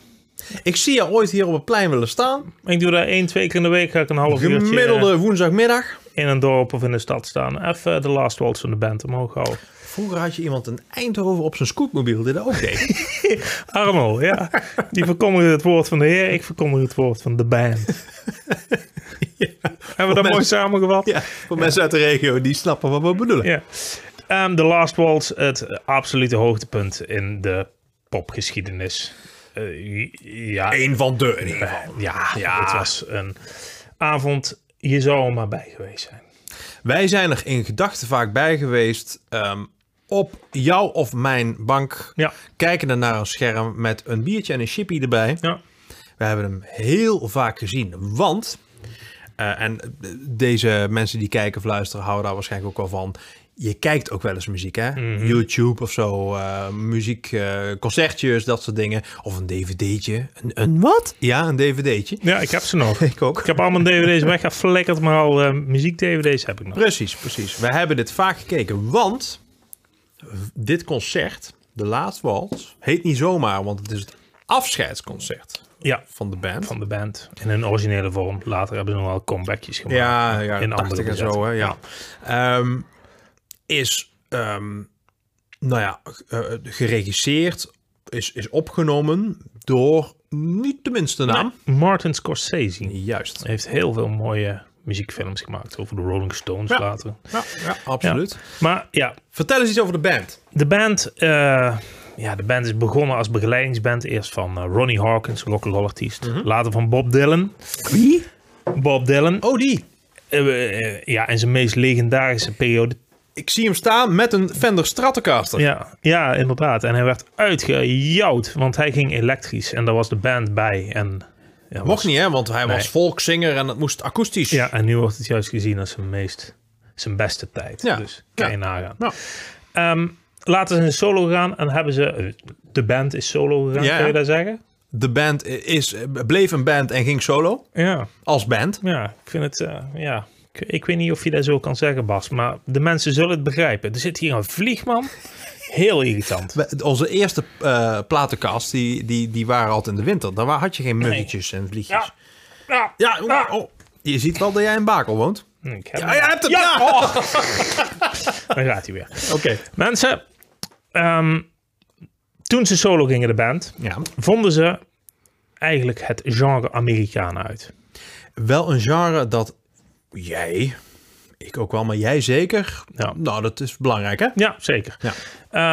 Speaker 2: Ik zie je ooit hier op het plein willen staan.
Speaker 1: Ik doe daar één, twee keer in de week. Ga ik een half uurtje
Speaker 2: Gemiddelde woensdagmiddag.
Speaker 1: eh, in een dorp of in de stad staan. Even de last waltz van de band omhoog houden.
Speaker 2: Vroeger had je iemand in Eindhoven op zijn scootmobiel die dat ook [LAUGHS] deed.
Speaker 1: Armo, [LAUGHS] ja. Die verkondigen het woord van de heer. Ik verkondig het woord van de band. [LAUGHS] Hebben we dat mooi samengevat?
Speaker 2: ja, voor mensen uit de regio die snappen wat we bedoelen.
Speaker 1: Ja. Ehm The Last Waltz, het absolute hoogtepunt in de popgeschiedenis. Eh, ja,
Speaker 2: Eén van de in ieder geval.
Speaker 1: Ja, het was een avond. Je zou er maar bij geweest zijn.
Speaker 2: Wij zijn er in gedachten vaak bij geweest. ehm, op jou of mijn bank.
Speaker 1: Ja.
Speaker 2: Kijkende naar een scherm met een biertje en een chippy erbij.
Speaker 1: Ja,
Speaker 2: We hebben hem heel vaak gezien. Want, eh, en eh, deze mensen die kijken of luisteren houden daar waarschijnlijk ook wel van. Je kijkt ook wel eens muziek, hè? YouTube of zo, eh, muziek, eh, concertjes, dat soort dingen. Of een dvd'tje. Een, een wat? Ja, een dvd'tje. [LAUGHS]
Speaker 1: ja ik heb ze nog. [LAUGHS] ik
Speaker 2: Ik ook.
Speaker 1: heb allemaal dvd's weggeflikkerd, maar al eh, muziek-dvd's heb ik nog.
Speaker 2: Precies, precies. We hebben dit vaak gekeken, want dit concert, de laatste wals, heet niet zomaar, want het is het afscheidsconcert
Speaker 1: Ja,
Speaker 2: van de band.
Speaker 1: van de band. In hun originele vorm. Later hebben ze nog wel comebackjes gemaakt.
Speaker 2: ja, ja,
Speaker 1: in
Speaker 2: in
Speaker 1: andere
Speaker 2: 80 en
Speaker 1: bezetting.
Speaker 2: zo, hè, ja. Ehm, is, ehm, nou ja, eh, geregisseerd, is, is opgenomen door niet de minste naam.
Speaker 1: Martin Scorsese
Speaker 2: Juist.
Speaker 1: heeft heel veel mooie muziekfilms gemaakt. Over de Rolling Stones
Speaker 2: Ja.
Speaker 1: later.
Speaker 2: Ja, ja, absoluut.
Speaker 1: Maar ja,
Speaker 2: Vertel eens iets over de band.
Speaker 1: De band, eh, ja, de band is begonnen als begeleidingsband. Eerst van eh, Ronnie Hawkins, rock'n'roll artiest. Later van Bob Dylan.
Speaker 2: Wie?
Speaker 1: Bob Dylan,
Speaker 2: Mhm. Oh, die.
Speaker 1: eh, eh, ja, in zijn meest legendarische periode
Speaker 2: Ik zie hem staan met een Fender Stratocaster.
Speaker 1: Ja, ja, inderdaad. En hij werd uitgejouwd, want hij ging elektrisch en daar was de band bij. En, ja, was-
Speaker 2: Mocht niet, hè? Want hij
Speaker 1: Nee.
Speaker 2: was volkszanger en het moest akoestisch.
Speaker 1: Ja, en nu wordt het juist gezien als zijn meest, zijn beste tijd.
Speaker 2: Ja,
Speaker 1: Dus kan
Speaker 2: ja.
Speaker 1: je nagaan.
Speaker 2: Ja.
Speaker 1: Ehm, laten ze in solo gaan en hebben ze, eh, de band is solo gegaan,
Speaker 2: Ja, ja.
Speaker 1: kun je dat zeggen?
Speaker 2: De band is, bleef een band en ging solo.
Speaker 1: Ja,
Speaker 2: Als band.
Speaker 1: ja, ik vind het, eh, ja. Ik, ik weet niet of je dat zo kan zeggen, Bas, maar de mensen zullen het begrijpen. Er zit hier een vliegman, heel
Speaker 2: [LAUGHS]
Speaker 1: irritant.
Speaker 2: We- Onze eerste eh platenkast, die, die, die waren altijd in de winter. Daar wa- had je geen muggetjes en vliegjes.
Speaker 1: Ja. Ja.
Speaker 2: Ja, oh, oh. je ziet wel dat jij in Bakel woont.
Speaker 1: Ik heb
Speaker 2: Ja, jij hebt het.
Speaker 1: Ja,
Speaker 2: Ja.
Speaker 1: oh. Dan gaat hij weer.
Speaker 2: [LAUGHS] Oké.
Speaker 1: Mensen, ehm, toen ze solo gingen, de band,
Speaker 2: Ja.
Speaker 1: vonden ze eigenlijk het genre Amerikaan uit.
Speaker 2: Wel een genre dat jij, ik ook wel, maar jij zeker.
Speaker 1: Ja.
Speaker 2: Nou, dat is belangrijk, hè?
Speaker 1: Ja, zeker.
Speaker 2: Ja.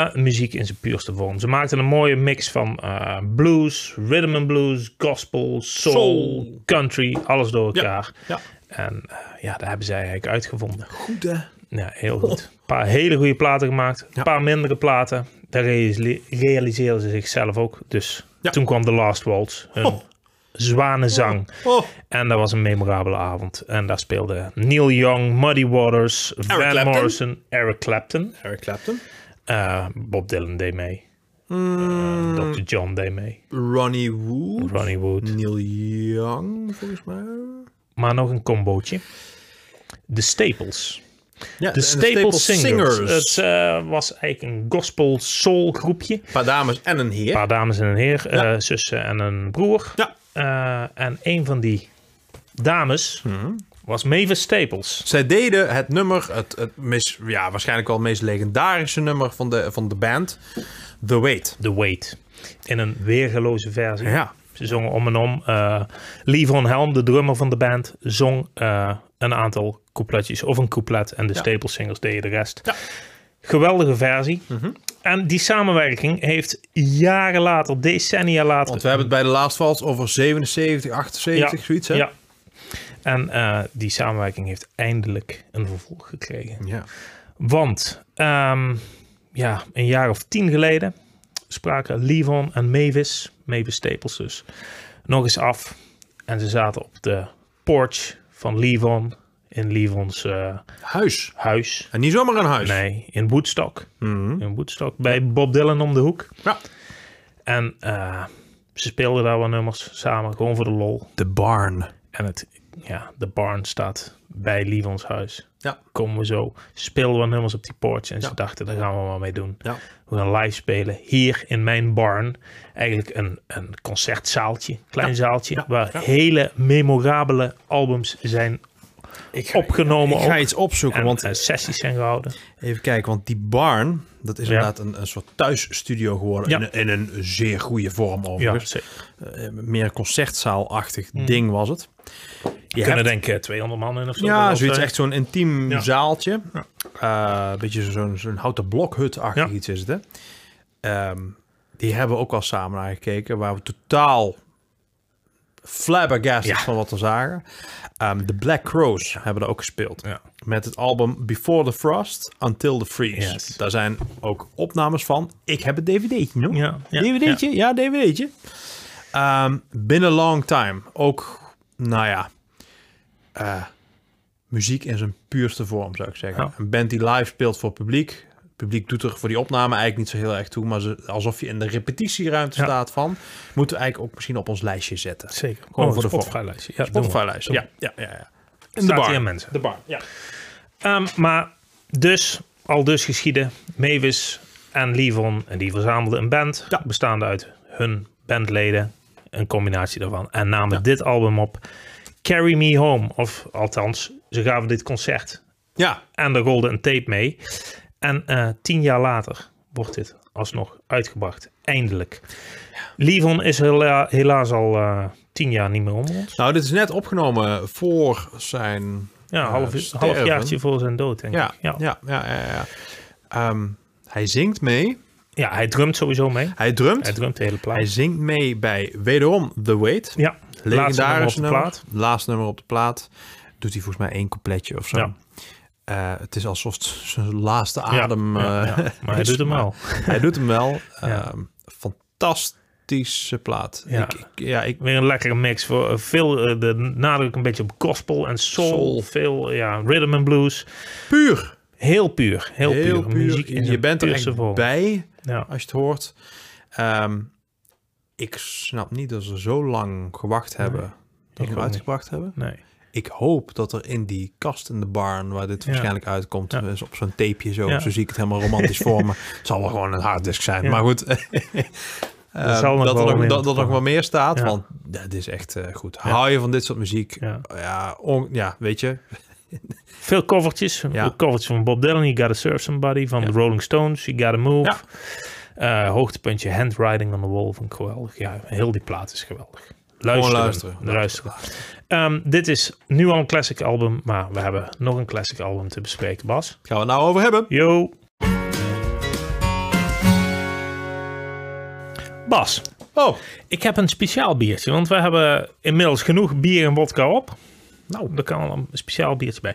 Speaker 1: Eh, muziek in zijn puurste vorm. Ze maakten een mooie mix van eh, blues, rhythm and blues, gospel, soul,
Speaker 2: Soul.
Speaker 1: country, alles door elkaar.
Speaker 2: Ja.
Speaker 1: En eh, ja, dat hebben zij eigenlijk uitgevonden.
Speaker 2: Goed, hè?
Speaker 1: Ja, heel goed.
Speaker 2: [LAUGHS]
Speaker 1: Een paar hele goede platen gemaakt, een paar mindere platen. Daar reali- realiseerden ze zichzelf ook. Dus
Speaker 2: Ja.
Speaker 1: toen kwam The Last Waltz, hun
Speaker 2: Oh.
Speaker 1: zwanenzang.
Speaker 2: Oh.
Speaker 1: En dat was een memorabele avond. En daar speelden Neil Young, Muddy Waters, Van
Speaker 2: Clapton.
Speaker 1: Morrison, Eric Clapton.
Speaker 2: Eric Clapton.
Speaker 1: Eh, Bob Dylan deed mee. Eh, Dr. John deed mee.
Speaker 2: Ronnie Wood.
Speaker 1: Ronnie Wood.
Speaker 2: Neil Young, volgens mij.
Speaker 1: Maar nog een combootje. De Staples.
Speaker 2: Ja,
Speaker 1: De Staples Singers. Het eh, was eigenlijk een gospel soul groepje.
Speaker 2: Een paar dames en een heer.
Speaker 1: Een paar dames en een heer, eh, zussen en een broer.
Speaker 2: Ja.
Speaker 1: Eh, en een van die dames was Mavis Staples.
Speaker 2: Zij deden het nummer, het, het meest, ja, waarschijnlijk wel het meest legendarische nummer van de, van de band, The Wait.
Speaker 1: The Wait. In een weergeloze versie.
Speaker 2: Ja.
Speaker 1: Ze zongen om en om. eh Livon Helm, de drummer van de band, zong eh, een aantal coupletjes of een couplet. En de Staples Singers deden de rest.
Speaker 2: Ja. Mhm.
Speaker 1: Geweldige versie. En die samenwerking heeft jaren later, decennia later...
Speaker 2: Want we hebben het bij de Last Vals over 77, 78, zoiets, hè?
Speaker 1: Ja. En eh, die samenwerking heeft eindelijk een vervolg gekregen.
Speaker 2: Ja.
Speaker 1: Want ehm, ja, een jaar of tien geleden spraken Livon en Mavis, Mavis Staples dus, nog eens af. En ze zaten op de porch van Livon, in Livons eh,
Speaker 2: Huis.
Speaker 1: huis.
Speaker 2: En niet zomaar een huis.
Speaker 1: Nee, in Woodstock. In Woodstock, bij Bob Dylan om de hoek.
Speaker 2: Ja.
Speaker 1: En eh, ze speelden daar wel nummers samen, gewoon voor de lol.
Speaker 2: The Barn.
Speaker 1: En het, ja, de barn staat bij Livons huis.
Speaker 2: Ja.
Speaker 1: Komen we zo, speelden we nummers op die porch. En ze
Speaker 2: Ja.
Speaker 1: dachten, daar gaan we maar mee doen.
Speaker 2: Ja.
Speaker 1: We gaan live spelen hier in mijn barn. Eigenlijk een, een concertzaaltje, klein zaaltje. Waar hele memorabele albums zijn
Speaker 2: Ik ga,
Speaker 1: opgenomen.
Speaker 2: ik ga
Speaker 1: ook.
Speaker 2: iets opzoeken,
Speaker 1: en,
Speaker 2: want
Speaker 1: eh, sessies zijn gehouden.
Speaker 2: even kijken, want die barn, dat is
Speaker 1: Ja.
Speaker 2: inderdaad een, een soort thuisstudio geworden.
Speaker 1: Ja.
Speaker 2: In, een- in een zeer goede vorm
Speaker 1: Ja,
Speaker 2: overigens.
Speaker 1: zeker.
Speaker 2: Eh, meer concertzaalachtig ding was het. Je
Speaker 1: kunnen
Speaker 2: hebt-
Speaker 1: denken 200 man in of zo.
Speaker 2: ja,
Speaker 1: Of,
Speaker 2: zoiets
Speaker 1: eh,
Speaker 2: echt zo'n intiem
Speaker 1: Ja.
Speaker 2: zaaltje. Eh, Een beetje zo'n zo'n houten blokhut-achtig
Speaker 1: Ja.
Speaker 2: iets is het, hè? Ehm, die hebben we ook al samen naar gekeken, waar we totaal flabbergasted
Speaker 1: Ja.
Speaker 2: van wat we zagen. Ehm, de Black Crows hebben er ook gespeeld.
Speaker 1: Ja.
Speaker 2: Met het album Before the Frost, Until the Freeze.
Speaker 1: Yes.
Speaker 2: Daar zijn ook opnames van. Ik heb het dvd'tje nog.
Speaker 1: Ja, ja,
Speaker 2: dvd'tje? Ja, dvd'tje. Ehm Been a Long Time. Ook, nou ja, eh, muziek in zijn puurste vorm zou ik zeggen.
Speaker 1: Ja.
Speaker 2: Een band die live speelt voor publiek. Het publiek doet er voor die opname eigenlijk niet zo heel erg toe. Maar ze, alsof je in de repetitieruimte
Speaker 1: Ja.
Speaker 2: staat van. Moeten we eigenlijk ook misschien op ons lijstje zetten.
Speaker 1: Zeker.
Speaker 2: Gewoon voor de vorm.
Speaker 1: Spotify-lijstje. Ja, doen we.
Speaker 2: Spotify-lijst. Ja, ja, ja. ja. In
Speaker 1: Staat hier, mensen.
Speaker 2: De bar, ja.
Speaker 1: Ehm, maar dus, al dus geschieden, Mavis en Livon, en die verzamelden een band
Speaker 2: Ja.
Speaker 1: bestaande uit hun bandleden, een combinatie daarvan, en namen dit album op, Carry Me Home, of althans, ze gaven dit concert
Speaker 2: Ja,
Speaker 1: en er rolde een tape mee. En eh, tien jaar later wordt dit alsnog uitgebracht, eindelijk. Livon is hela- helaas al eh, tien jaar niet meer onder ons.
Speaker 2: nou dit is net opgenomen voor zijn...
Speaker 1: Ja,
Speaker 2: Eh,
Speaker 1: half,
Speaker 2: sterven.
Speaker 1: half jaartje voor zijn dood, denk
Speaker 2: Ja,
Speaker 1: ik.
Speaker 2: ja, ja, ja. ja, Ehm, hij zingt mee.
Speaker 1: ja, hij drumt sowieso mee.
Speaker 2: Hij drumt.
Speaker 1: Hij
Speaker 2: Hij,
Speaker 1: drumt de hele plaat.
Speaker 2: zingt mee bij wederom The Wait.
Speaker 1: Ja,
Speaker 2: Legendarisch
Speaker 1: laatste nummer op de
Speaker 2: nummer.
Speaker 1: plaat.
Speaker 2: Laatste nummer op de plaat. Doet hij volgens mij één coupletje of zo.
Speaker 1: Ja.
Speaker 2: eh, het is alsof het zijn laatste
Speaker 1: Ja,
Speaker 2: adem...
Speaker 1: ja,
Speaker 2: eh,
Speaker 1: ja. Maar hij
Speaker 2: is.
Speaker 1: doet hem al.
Speaker 2: Hij doet hem wel.
Speaker 1: Ja.
Speaker 2: Ehm, fantastische plaat.
Speaker 1: Ja.
Speaker 2: Ik, ik- ja, ik,
Speaker 1: Weer een lekkere mix. Voor eh, veel eh, de nadruk een beetje op gospel en soul.
Speaker 2: Soul.
Speaker 1: Veel ja, rhythm and blues.
Speaker 2: puur.
Speaker 1: Heel puur. Heel,
Speaker 2: Heel
Speaker 1: puur.
Speaker 2: puur.
Speaker 1: Muziek in
Speaker 2: je
Speaker 1: zijn
Speaker 2: bent er
Speaker 1: puurste
Speaker 2: echt
Speaker 1: vorm.
Speaker 2: bij
Speaker 1: Ja.
Speaker 2: als je het hoort. Ehm, ik snap niet dat ze zo lang gewacht hebben. dat
Speaker 1: ook
Speaker 2: ze hem
Speaker 1: niet.
Speaker 2: uitgebracht hebben.
Speaker 1: Nee.
Speaker 2: Ik hoop dat er in die kast in de barn, waar dit
Speaker 1: Ja.
Speaker 2: waarschijnlijk uitkomt,
Speaker 1: Ja.
Speaker 2: dus op zo'n tapeje zo,
Speaker 1: Ja.
Speaker 2: zo zie ik het helemaal
Speaker 1: [LAUGHS]
Speaker 2: romantisch voor me. Het zal wel gewoon een harddisk zijn,
Speaker 1: Ja.
Speaker 2: maar goed. [LAUGHS] Ehm,
Speaker 1: zal nog
Speaker 2: dat
Speaker 1: wel
Speaker 2: er nog,
Speaker 1: in
Speaker 2: dat er nog
Speaker 1: komen.
Speaker 2: wat meer staat,
Speaker 1: Ja.
Speaker 2: want dat is echt eh, goed. Hou je van dit soort muziek?
Speaker 1: Ja.
Speaker 2: Ja, on- ja weet je,
Speaker 1: Veel covertjes.
Speaker 2: Ja.
Speaker 1: Ook Covertjes van Bob Dylan. You Gotta Serve Somebody. Van
Speaker 2: Ja.
Speaker 1: de Rolling Stones. You Gotta Move.
Speaker 2: Ja.
Speaker 1: Eh, hoogtepuntje Handwriting on the Wall. Van geweldig. Ja, heel die plaat is geweldig. Luisteren.
Speaker 2: luisteren.
Speaker 1: luisteren. Ehm, dit is nu al een classic album. Maar we hebben nog een classic album te bespreken. Bas.
Speaker 2: gaan we het nou over hebben?
Speaker 1: Yo. Bas,
Speaker 2: Oh,
Speaker 1: ik heb een speciaal biertje, want we hebben inmiddels genoeg bier en wodka op.
Speaker 2: nou,
Speaker 1: Er kan wel een speciaal biertje bij.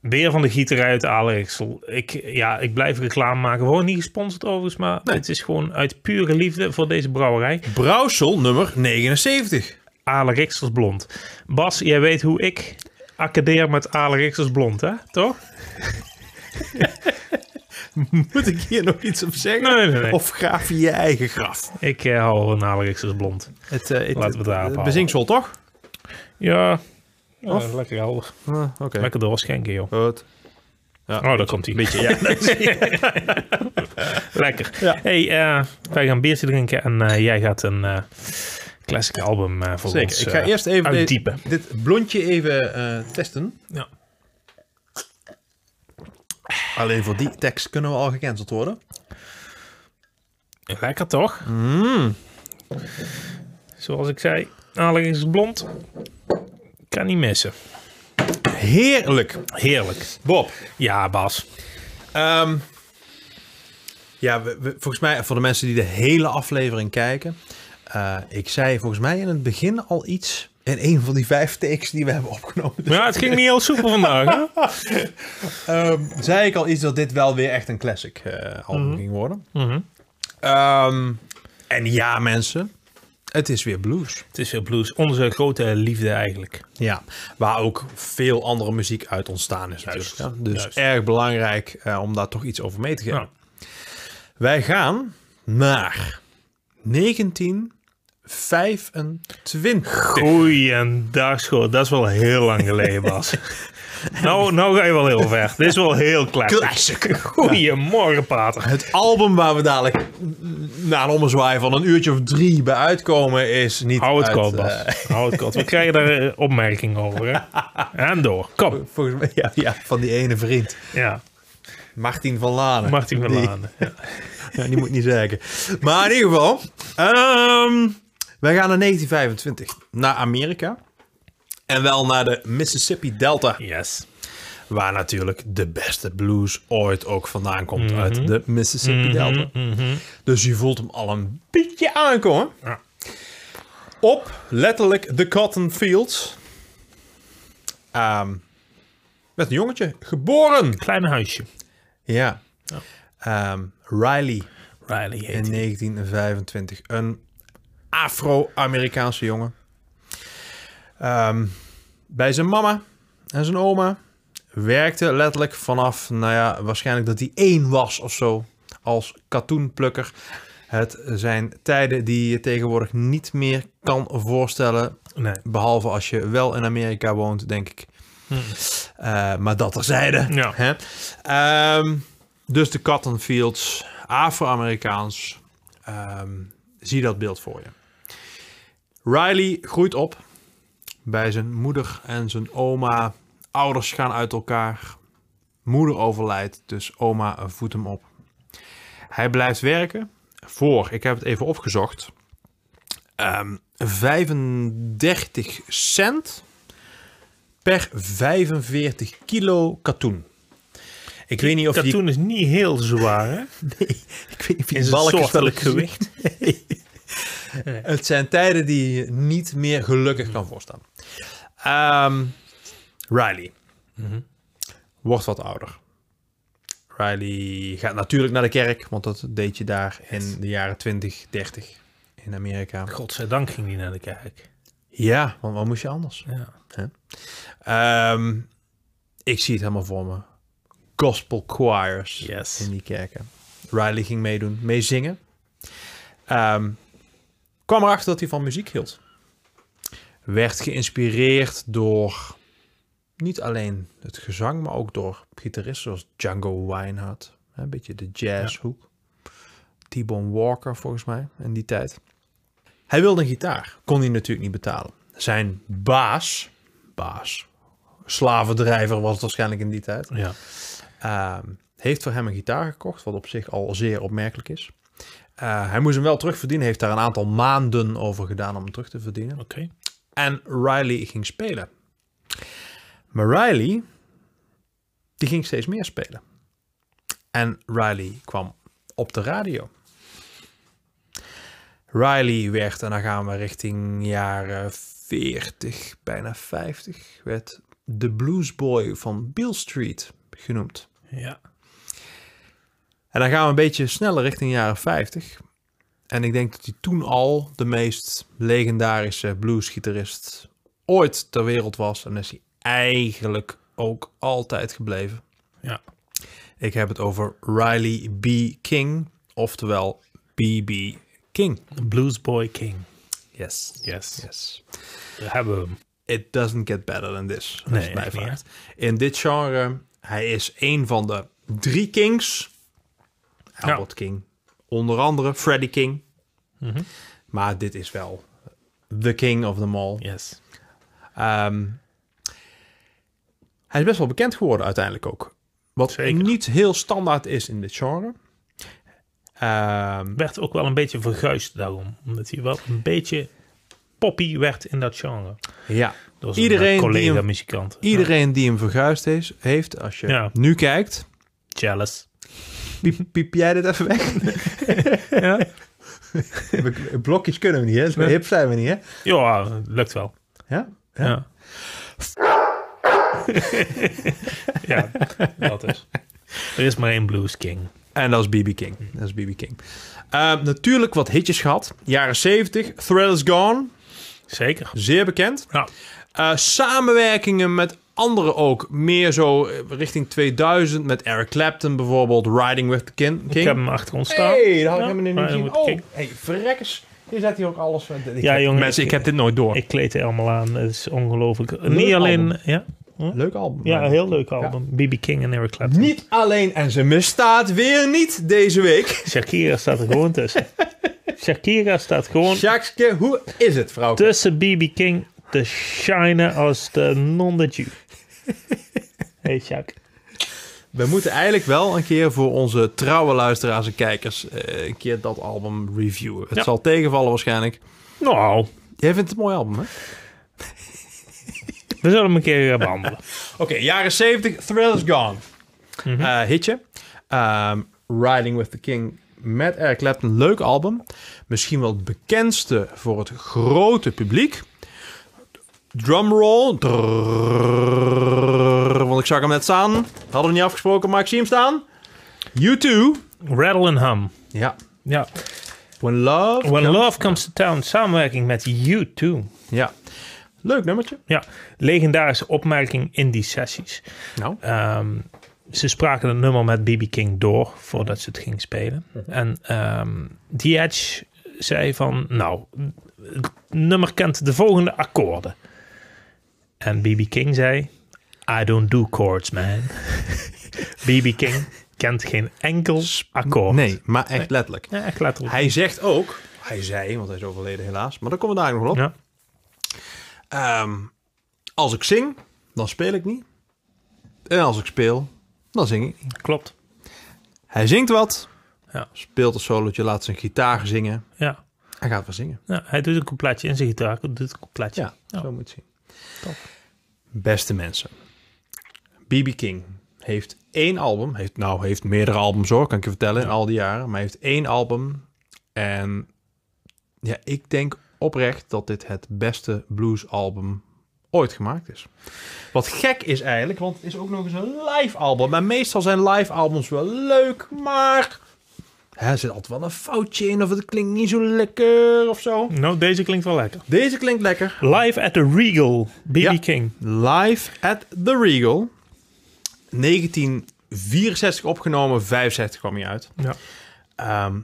Speaker 1: Weer van de gieterij uit Aleriksel. Ik, ja, ik blijf reclame maken. We worden niet gesponsord overigens, maar het is gewoon uit pure liefde voor deze brouwerij.
Speaker 2: Brouwsel nummer 79.
Speaker 1: Aleriksels Blond. Bas, jij weet hoe ik accadeer met Aleriksels Blond, hè? Toch?
Speaker 2: [LAUGHS] Moet ik hier nog iets op zeggen?
Speaker 1: Nee, nee, nee.
Speaker 2: Of graaf je je eigen graf?
Speaker 1: Ik eh, hou van Aleriksels Blond.
Speaker 2: Het, eh het,
Speaker 1: Laten we het daarop houden.
Speaker 2: bezinksel, toch?
Speaker 1: Ja, ja lekker helder.
Speaker 2: Ah, Oké.
Speaker 1: Lekker doorschenken, joh.
Speaker 2: Goed.
Speaker 1: Oh, daar komt hij. Beetje,
Speaker 2: [LAUGHS]
Speaker 1: ja. [LAUGHS] Lekker.
Speaker 2: Ja.
Speaker 1: Hey, eh, wij gaan een biertje drinken en eh, jij gaat een eh, classic album eh voor
Speaker 2: Zeker.
Speaker 1: ons
Speaker 2: ik ga
Speaker 1: eh,
Speaker 2: eerst even de-
Speaker 1: uitdiepen.
Speaker 2: dit blondje even eh, testen.
Speaker 1: Ja.
Speaker 2: Alleen voor die tekst kunnen we al gecanceld worden.
Speaker 1: Lekker toch?
Speaker 2: Mm.
Speaker 1: Zoals ik zei, Alex is blond. Kan niet missen.
Speaker 2: Heerlijk.
Speaker 1: Heerlijk.
Speaker 2: Bob.
Speaker 1: Ja, Bas.
Speaker 2: ehm, ja, we- we- volgens mij voor de mensen die de hele aflevering kijken. eh, ik zei volgens mij in het begin al iets. In een van die vijf takes die we hebben opgenomen. Dus,
Speaker 1: Ja, het ging niet heel soepel vandaag.
Speaker 2: [LAUGHS]
Speaker 1: Hè?
Speaker 2: ehm, zei ik al iets dat dit wel weer echt een classic eh album ging worden.
Speaker 1: Mhm.
Speaker 2: Ehm, en ja, mensen. Het is weer blues.
Speaker 1: Het is veel blues. Onze grote liefde eigenlijk.
Speaker 2: Ja, waar ook veel andere muziek uit ontstaan is
Speaker 1: Juist,
Speaker 2: natuurlijk. Ja, dus
Speaker 1: juist.
Speaker 2: erg belangrijk eh, om daar toch iets over mee te geven.
Speaker 1: Ja.
Speaker 2: Wij gaan naar 1925.
Speaker 1: Goeiedag, schoot. Dat is wel heel lang geleden,
Speaker 2: [LAUGHS]
Speaker 1: Bas. nou, nou ga je wel heel ver. Dit is wel heel classic.
Speaker 2: Classic.
Speaker 1: Goedemorgen, Pater.
Speaker 2: Het album waar we dadelijk na een ommezwaai van een uurtje of drie bij uitkomen is niet
Speaker 1: Hou het
Speaker 2: uit,
Speaker 1: koud,
Speaker 2: eh,
Speaker 1: Bas. Hou het koud. We krijgen daar eh, opmerkingen over. Hè? En door. Kom.
Speaker 2: [LAUGHS] volgens mij, ja, ja, van die ene vriend.
Speaker 1: Ja,
Speaker 2: Martin van Lanen.
Speaker 1: Martin van
Speaker 2: Die-
Speaker 1: Laan. Ja.
Speaker 2: Ja, die moet ik niet zeggen. Maar in ieder geval, ehm, wij gaan naar 1925 naar Amerika. En wel naar de Mississippi Delta,
Speaker 1: Yes.
Speaker 2: waar natuurlijk de beste blues ooit ook vandaan komt uit de Mississippi Delta. Dus je voelt hem al een beetje aankomen.
Speaker 1: Ja.
Speaker 2: Op letterlijk de cotton fields. Ehm, met een jongetje, geboren.
Speaker 1: Klein huisje.
Speaker 2: Ja. Ehm, Riley
Speaker 1: Riley heet
Speaker 2: in
Speaker 1: hij.
Speaker 2: 1925. Een Afro-Amerikaanse jongen. Ehm, bij zijn mama en zijn oma werkte letterlijk vanaf, nou ja, waarschijnlijk dat hij één was of zo, als katoenplukker. Het zijn tijden die je tegenwoordig niet meer kan voorstellen,
Speaker 1: Nee.
Speaker 2: behalve als je wel in Amerika woont, denk ik. Eh, maar dat terzijde.
Speaker 1: Ja.
Speaker 2: Hè? Ehm, dus de Cotton Fields, Afro-Amerikaans. Ehm, zie dat beeld voor je. Riley groeit op bij zijn moeder en zijn oma. Ouders gaan uit elkaar. Moeder overlijdt, dus oma voedt hem op. Hij blijft werken voor, ik heb het even opgezocht, ehm, 35 cent per 45 kilo katoen. Ik weet niet of je die
Speaker 1: Katoen is niet heel zwaar, hè?
Speaker 2: ik weet niet of je
Speaker 1: Is
Speaker 2: die
Speaker 1: het
Speaker 2: balkjes wel
Speaker 1: soortelijk
Speaker 2: eens gezien-
Speaker 1: gewicht?
Speaker 2: [LAUGHS] Het zijn tijden die je niet meer
Speaker 1: Mhm.
Speaker 2: gelukkig kan voorstaan. Ehm, Riley. wordt wat ouder. Riley gaat natuurlijk naar de kerk, want dat deed je daar in de jaren 20, 30 in Amerika.
Speaker 1: Godzijdank ging die naar de kerk.
Speaker 2: Ja, want wat moest je anders?
Speaker 1: Ja.
Speaker 2: Ehm, ik zie het helemaal voor me. Gospel choirs
Speaker 1: Yes.
Speaker 2: in die kerken. Riley ging meedoen, meezingen. Ehm kwam erachter dat hij van muziek hield. Werd geïnspireerd door niet alleen het gezang, maar ook door gitaristen zoals Django Reinhardt. Hè, Een beetje de jazzhoek. T-Bone Walker volgens mij in die tijd. Hij wilde een gitaar. Kon hij natuurlijk niet betalen. Zijn baas, baas, slavendrijver was het waarschijnlijk in die tijd.
Speaker 1: Ja.
Speaker 2: Ehm, heeft voor hem een gitaar gekocht, wat op zich al zeer opmerkelijk is. Eh, hij moest hem wel terugverdienen, heeft daar een aantal maanden over gedaan om hem terug te verdienen.
Speaker 1: Oké.
Speaker 2: En Riley ging spelen. Maar Riley, die ging steeds meer spelen. En Riley kwam op de radio. Riley werd, en dan gaan we richting jaren 40, bijna 50, werd de bluesboy van Beale Street genoemd.
Speaker 1: Ja.
Speaker 2: En dan gaan we een beetje sneller richting de jaren 50. En ik denk dat hij toen al de meest legendarische bluesgitarist ooit ter wereld was. En dat is hij eigenlijk ook altijd gebleven.
Speaker 1: Ja.
Speaker 2: Ik heb het over Riley B. King, oftewel B.B. King.
Speaker 1: Blues Boy King.
Speaker 2: Yes.
Speaker 1: Yes.
Speaker 2: Yes.
Speaker 1: We hebben we hem.
Speaker 2: It doesn't get better than this. als
Speaker 1: Nee,
Speaker 2: je het mij
Speaker 1: echt niet,
Speaker 2: vraagt. In dit genre, hij is een van de drie kings. Albert King, onder andere Freddie King.
Speaker 1: Mhm.
Speaker 2: Maar dit is wel the king of them all.
Speaker 1: Yes.
Speaker 2: Ehm, hij is best wel bekend geworden uiteindelijk ook. Wat
Speaker 1: Zeker.
Speaker 2: niet heel standaard is in dit genre. Ehm,
Speaker 1: Werd ook wel een beetje verguisd daarom. Omdat hij wel een beetje poppy werd in dat genre.
Speaker 2: ja.
Speaker 1: Door zijn
Speaker 2: Iedereen,
Speaker 1: eh,
Speaker 2: die hem,
Speaker 1: collega-muzikant.
Speaker 2: iedereen die hem verguisd is, heeft, als je
Speaker 1: Ja.
Speaker 2: nu kijkt...
Speaker 1: Ja. Jealous.
Speaker 2: Piep, piep jij dit even weg? [LAUGHS]
Speaker 1: Ja.
Speaker 2: We- Blokjes kunnen we niet, hè? Zo hip zijn we niet, hè?
Speaker 1: ja, eh, lukt wel.
Speaker 2: Ja? ja.
Speaker 1: Ja. ja, [LAUGHS] dat is. Er is maar één Blues King.
Speaker 2: En dat is BB King. Mm. Dat is BB King. Eh, natuurlijk wat hitjes gehad. Jaren 70, Thrill is Gone.
Speaker 1: Zeker.
Speaker 2: Zeer bekend.
Speaker 1: Nou,
Speaker 2: Eh, samenwerkingen met anderen ook. Meer zo eh, richting 2000 met Eric Clapton bijvoorbeeld. Riding with the Kin- King.
Speaker 1: ik heb hem achter ons staan.
Speaker 2: Hey, daar had ik
Speaker 1: Ja,
Speaker 2: helemaal niet
Speaker 1: Riding
Speaker 2: gezien.
Speaker 1: with the
Speaker 2: Oh,
Speaker 1: King.
Speaker 2: hey, verrekkers. Hier zet hij ook alles. van. Ik
Speaker 1: Ja,
Speaker 2: heb-
Speaker 1: jongen,
Speaker 2: Mensen, ik,
Speaker 1: ik-
Speaker 2: heb dit nooit door.
Speaker 1: Ik kleed er allemaal aan. Het is ongelooflijk. Niet alleen...
Speaker 2: album.
Speaker 1: Ja?
Speaker 2: Leuk album.
Speaker 1: ja,
Speaker 2: Maar-
Speaker 1: een heel leuk album. B.B. King en Eric Clapton.
Speaker 2: Niet alleen en ze misstaat weer niet deze week.
Speaker 1: Shakira staat er gewoon
Speaker 2: [LAUGHS]
Speaker 1: tussen. Shakira staat gewoon
Speaker 2: Sjaakske, hoe is het, vrouw?
Speaker 1: tussen B.B. King te shinen als de non de Jew. Hey Shak.
Speaker 2: We moeten eigenlijk wel een keer voor onze trouwe luisteraars en kijkers eh, een keer dat album reviewen. Het
Speaker 1: Ja.
Speaker 2: zal tegenvallen waarschijnlijk.
Speaker 1: Nou,
Speaker 2: Jij vindt het een mooi album, hè? Oké,
Speaker 1: we zullen hem een keer gaan behandelen.
Speaker 2: jaren 70, Thrill is Gone. Eh, hitje. Ehm, Riding with the King met Eric Clapton. Leuk album. Misschien wel het bekendste voor het grote publiek. Drumroll. Drrrr, want ik zag hem net staan. Hadden we niet afgesproken, maar ik zie hem staan. You too.
Speaker 1: Rattle and Hum.
Speaker 2: Ja.
Speaker 1: Ja.
Speaker 2: When Love
Speaker 1: When Love Comes to Town. Samenwerking met U2.
Speaker 2: Ja. Leuk nummertje.
Speaker 1: Ja, legendarische opmerking in die sessies.
Speaker 2: Nou.
Speaker 1: Ehm, ze spraken het nummer met BB King door voordat ze het ging spelen.
Speaker 2: Mhm.
Speaker 1: En ehm The Edge zei van, nou, het nummer kent de volgende akkoorden. En BB King zei, I don't do chords, man. [LAUGHS] BB King kent geen enkel akkoord.
Speaker 2: Nee, maar echt letterlijk.
Speaker 1: Ja, echt letterlijk.
Speaker 2: Hij zegt ook, hij zei, want hij is overleden helaas, maar daar komen we daar nog wel op.
Speaker 1: Ja.
Speaker 2: Ehm, als ik zing, dan speel ik niet. En als ik speel, dan zing ik niet.
Speaker 1: Klopt.
Speaker 2: Hij zingt wat,
Speaker 1: Ja.
Speaker 2: speelt een solootje, laat zijn gitaar zingen.
Speaker 1: Ja.
Speaker 2: Hij gaat wel zingen.
Speaker 1: Ja, hij doet een coupletje in zijn gitaar. Doet een coupletje.
Speaker 2: Ja, zo moet je het zien.
Speaker 1: Top.
Speaker 2: Beste mensen. BB King heeft één album. Heeft, nou, heeft meerdere albums hoor, kan ik je vertellen, in al die jaren. Maar hij heeft één album. En ja, ik denk oprecht dat dit het beste bluesalbum ooit gemaakt is. Wat gek is eigenlijk, want het is ook nog eens een live album. Maar meestal zijn live albums wel leuk, maar hè, er zit altijd wel een foutje in of het klinkt niet zo lekker of zo.
Speaker 1: Nou, deze klinkt wel lekker.
Speaker 2: Deze klinkt lekker.
Speaker 1: Live at the Regal, B.B.
Speaker 2: Ja.
Speaker 1: King.
Speaker 2: Live at the Regal. 1964 opgenomen, 65 kwam hij uit.
Speaker 1: Ja.
Speaker 2: Ehm,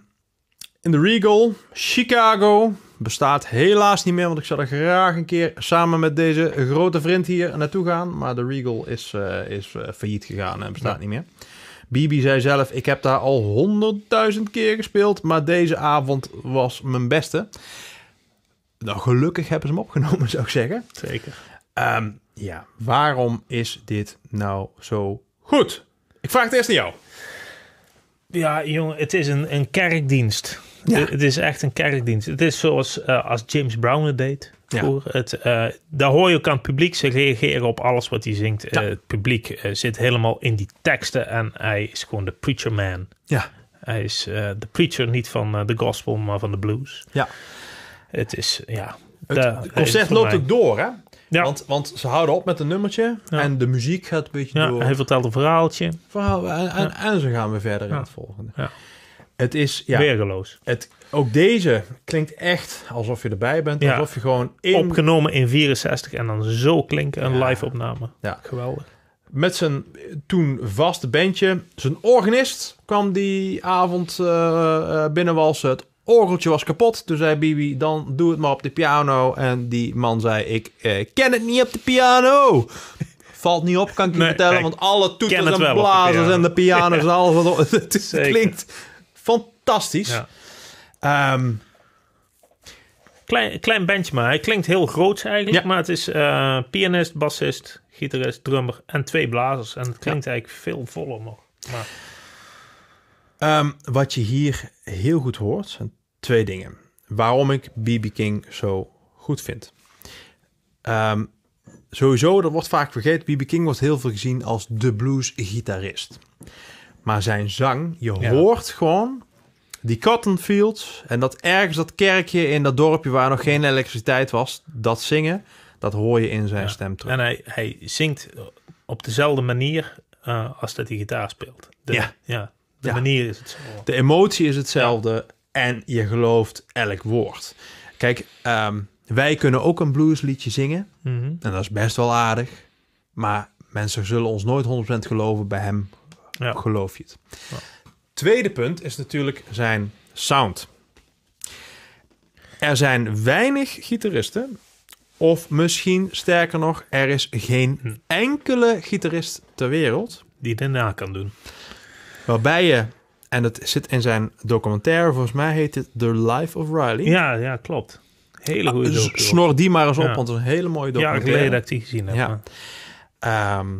Speaker 2: in de Regal, Chicago, bestaat helaas niet meer, want ik zou er graag een keer samen met deze grote vriend hier naartoe gaan. Maar de Regal is, eh, is eh, failliet gegaan en bestaat niet meer. Bibi zei zelf, ik heb daar al honderdduizend keer gespeeld, maar deze avond was mijn beste. Nou, gelukkig hebben ze hem opgenomen, [LAUGHS] zou ik zeggen.
Speaker 1: Zeker.
Speaker 2: Ehm, ja, waarom is dit nou zo goed? Ik vraag het eerst aan jou.
Speaker 1: Ja, jongen, het is een, een kerkdienst. Het- Het is echt een kerkdienst. Het is zoals eh, als James Brown het deed.
Speaker 2: Ja.
Speaker 1: vroeger. Het, eh, daar hoor je ook aan het publiek. Ze reageren op alles wat hij zingt. Eh, het publiek eh, zit helemaal in die teksten. En hij is gewoon de preacher man.
Speaker 2: Ja,
Speaker 1: Hij is eh, de preacher niet van eh, de gospel, maar van de blues.
Speaker 2: ja.
Speaker 1: Het is, ja... daar-
Speaker 2: Het concert
Speaker 1: voor
Speaker 2: loopt
Speaker 1: mij.
Speaker 2: ook door, hè?
Speaker 1: Ja,
Speaker 2: Want, want ze houden op met een nummertje
Speaker 1: Ja.
Speaker 2: en de muziek gaat een beetje
Speaker 1: ja
Speaker 2: door.
Speaker 1: hij vertelt een verhaaltje.
Speaker 2: Verhaal- en, en, en ze gaan weer verder in het volgende.
Speaker 1: Ja.
Speaker 2: Het is, ja,
Speaker 1: Weergeloos.
Speaker 2: het, ook deze klinkt echt alsof je erbij bent.
Speaker 1: Ja.
Speaker 2: Alsof je gewoon in,
Speaker 1: Opgenomen in 64 en dan zo klinken een live opname.
Speaker 2: ja,
Speaker 1: Geweldig.
Speaker 2: met zijn toen vaste bandje. Zijn organist kwam die avond eh, eh, binnenwalsen. Het orgeltje was kapot. Toen zei Bibi, dan doe het maar op de piano. En die man zei, ik eh, ken het niet op de piano. [LAUGHS] Valt niet op, kan ik je
Speaker 1: Nee,
Speaker 2: vertellen.
Speaker 1: ik
Speaker 2: want alle
Speaker 1: ken
Speaker 2: toeters
Speaker 1: het wel
Speaker 2: en
Speaker 1: op de
Speaker 2: blazers
Speaker 1: piano.
Speaker 2: en de
Speaker 1: [LAUGHS]
Speaker 2: piano's en alles. Wat, [LAUGHS] het is-
Speaker 1: Zeker.
Speaker 2: klinkt fantastisch.
Speaker 1: Ja.
Speaker 2: Ehm,
Speaker 1: Klein, klein bandje, maar hij klinkt heel groots eigenlijk.
Speaker 2: Ja.
Speaker 1: Maar het is eh, pianist, bassist, gitarist, drummer en twee blazers. En het klinkt eigenlijk veel voller nog. Maar
Speaker 2: Ehm, wat je hier heel goed hoort zijn twee dingen. Waarom ik BB King zo goed vind. Ehm, sowieso, dat wordt vaak vergeten. BB King wordt heel veel gezien als de bluesgitarist. Maar zijn zang, je
Speaker 1: Ja.
Speaker 2: hoort gewoon die cotton fields en dat ergens dat kerkje in dat dorpje waar nog geen elektriciteit was, dat zingen, dat hoor je in zijn
Speaker 1: Ja.
Speaker 2: stem terug.
Speaker 1: En hij, hij zingt op dezelfde manier eh, als dat hij gitaar speelt. De,
Speaker 2: Ja.
Speaker 1: de
Speaker 2: Ja.
Speaker 1: manier is het zo.
Speaker 2: De emotie is hetzelfde en je gelooft elk woord. Kijk, ehm, wij kunnen ook een bluesliedje zingen.
Speaker 1: Mhm.
Speaker 2: En dat is best wel aardig. Maar mensen zullen ons nooit 100% geloven. Bij hem
Speaker 1: Ja.
Speaker 2: geloof je het. Tweede punt is natuurlijk zijn sound. Er zijn weinig gitaristen. Of misschien sterker nog, er is
Speaker 1: Hm.
Speaker 2: geen enkele gitarist ter wereld
Speaker 1: Die daarna kan doen.
Speaker 2: Waarbij je, en dat zit in zijn documentaire, volgens mij heet het The Life of Riley.
Speaker 1: Ja, ja klopt. Hele goede
Speaker 2: S-
Speaker 1: docu. hoor.
Speaker 2: Ah, Snor die maar eens op,
Speaker 1: Ja.
Speaker 2: want het is een hele mooie
Speaker 1: Jaren geleden
Speaker 2: documentaire.
Speaker 1: dat ik die gezien heb.
Speaker 2: Ja.
Speaker 1: maar-
Speaker 2: Ehm,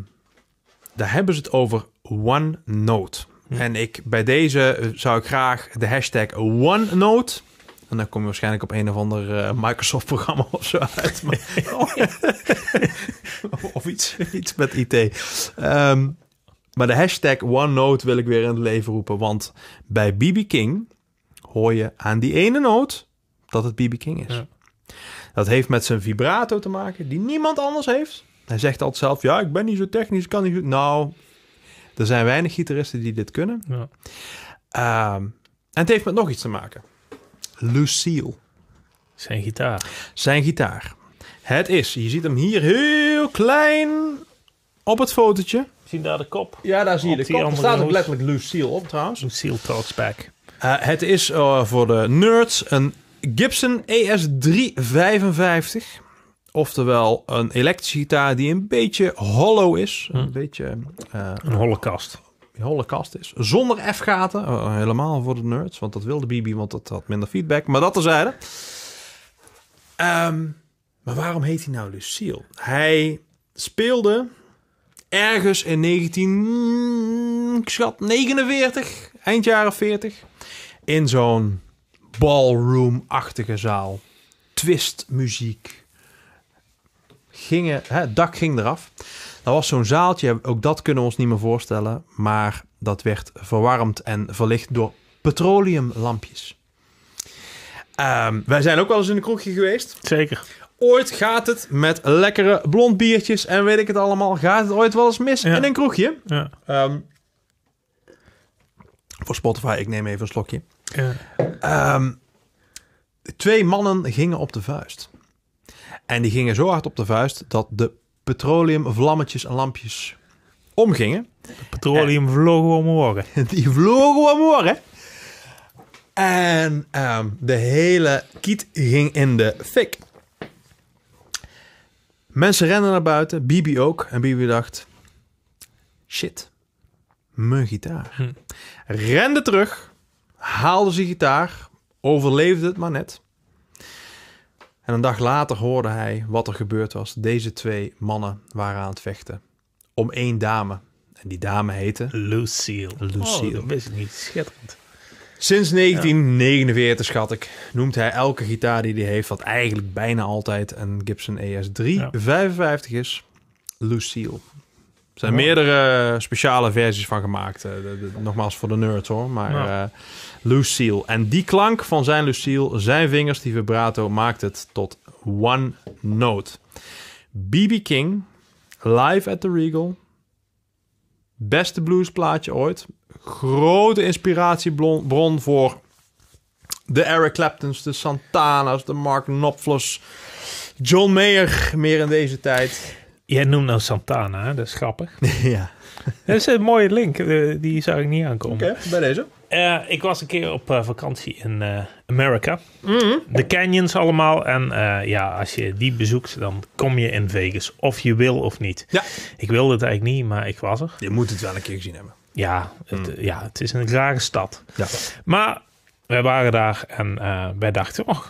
Speaker 2: daar hebben ze het over One Note.
Speaker 1: Hm.
Speaker 2: En ik, bij deze eh, zou ik graag de hashtag One Note. En dan kom je waarschijnlijk op een of ander eh, Microsoft-programma of zo
Speaker 1: [LAUGHS]
Speaker 2: uit. [LAUGHS] Maar, Of- of iets, iets met IT. Ehm, maar de hashtag OneNote wil ik weer in het leven roepen. Want bij BB King hoor je aan die ene noot dat het BB King is.
Speaker 1: Ja.
Speaker 2: Dat heeft met zijn vibrato te maken, die niemand anders heeft. Hij zegt altijd zelf, ja, ik ben niet zo technisch, ik kan niet zo... Nou, er zijn weinig gitaristen die dit kunnen.
Speaker 1: Ja.
Speaker 2: Ehm, en het heeft met nog iets te maken. Lucille,
Speaker 1: Zijn gitaar.
Speaker 2: zijn gitaar. Het is, je ziet hem hier heel klein op het fotootje.
Speaker 1: Zien daar de kop?
Speaker 2: Ja, daar zie je
Speaker 1: Op
Speaker 2: de
Speaker 1: die
Speaker 2: kop. Er
Speaker 1: andere
Speaker 2: staat ook
Speaker 1: hoes.
Speaker 2: letterlijk Lucille op trouwens.
Speaker 1: Een Seal Talks Back.
Speaker 2: Eh, het is eh, voor de nerds een Gibson E ES355. Oftewel een elektrische gitaar die een beetje hollow is. Een beetje eh
Speaker 1: Een holocaust.
Speaker 2: holle kast is. Zonder F-gaten. Eh, helemaal voor de nerds. Want dat wilde Bibi, want dat had minder feedback. Maar dat terzijde. Ehm maar waarom heet hij nou Lucille? Hij speelde ergens in 19... Ik schat, 49. Eind jaren 40. In zo'n ballroom-achtige zaal. Twistmuziek. Gingen, hè, het dak ging eraf. Dat was zo'n zaaltje, ook dat kunnen we ons niet meer voorstellen. Maar dat werd verwarmd en verlicht door petroleumlampjes. Ehm, wij zijn ook wel eens in een kroegje geweest.
Speaker 1: Zeker.
Speaker 2: Ooit gaat het met lekkere blond biertjes en weet ik het allemaal, gaat het ooit wel eens mis
Speaker 1: Ja.
Speaker 2: in een kroegje.
Speaker 1: Ja.
Speaker 2: Ehm, voor Spotify, ik neem even een slokje.
Speaker 1: Ja.
Speaker 2: Ehm, twee mannen gingen op de vuist. En die gingen zo hard op de vuist dat de petroleumvlammetjes en lampjes omgingen.
Speaker 1: Petroleum vlogen omhoog.
Speaker 2: [LAUGHS] Die vlogen omhoog, hè? En ehm, de hele kiet ging in de fik. Mensen renden naar buiten, Bibi ook. En Bibi dacht, shit, mijn gitaar.
Speaker 1: Hm.
Speaker 2: Rende terug, haalde zijn gitaar, overleefde het maar net. En een dag later hoorde hij wat er gebeurd was. Deze twee mannen waren aan het vechten om één dame. En die dame heette
Speaker 1: Lucille.
Speaker 2: Lucille.
Speaker 1: Oh, dat wist ik niet. Schitterend.
Speaker 2: Sinds 1949, schat ik, noemt hij elke gitaar die hij heeft, wat eigenlijk bijna altijd een Gibson E ES3
Speaker 1: Ja.
Speaker 2: 55 is, Lucille. Er zijn
Speaker 1: Mooi.
Speaker 2: meerdere eh, speciale versies van gemaakt. eh, de- de- nogmaals voor de nerds hoor, maar
Speaker 1: Ja.
Speaker 2: eh, Lucille. En die klank van zijn Lucille, zijn vingers, die vibrato, maakt het tot one note. BB King, live at the Regal. Beste bluesplaatje ooit. Grote inspiratiebron voor de Eric Claptons, de Santana's, de Mark Knopflers. John Mayer, meer in deze tijd.
Speaker 1: Jij noemt nou Santana, hè? dat is grappig.
Speaker 2: [LAUGHS]
Speaker 1: [LAUGHS]
Speaker 2: ja.
Speaker 1: dat is een mooie link, eh, die zag ik niet aankomen.
Speaker 2: Oké, bij deze.
Speaker 1: Eh, ik was een keer op eh, vakantie in eh Amerika.
Speaker 2: Mhm.
Speaker 1: De canyons allemaal. En eh, ja, als je die bezoekt, dan kom je in Vegas. Of je wil of niet.
Speaker 2: Ja.
Speaker 1: Ik wilde het eigenlijk niet, maar ik was er.
Speaker 2: Je moet het wel een keer gezien hebben.
Speaker 1: Ja, het,
Speaker 2: Hmm.
Speaker 1: ja, het is een rare stad.
Speaker 2: Ja.
Speaker 1: Maar wij waren daar en eh, wij dachten, oh,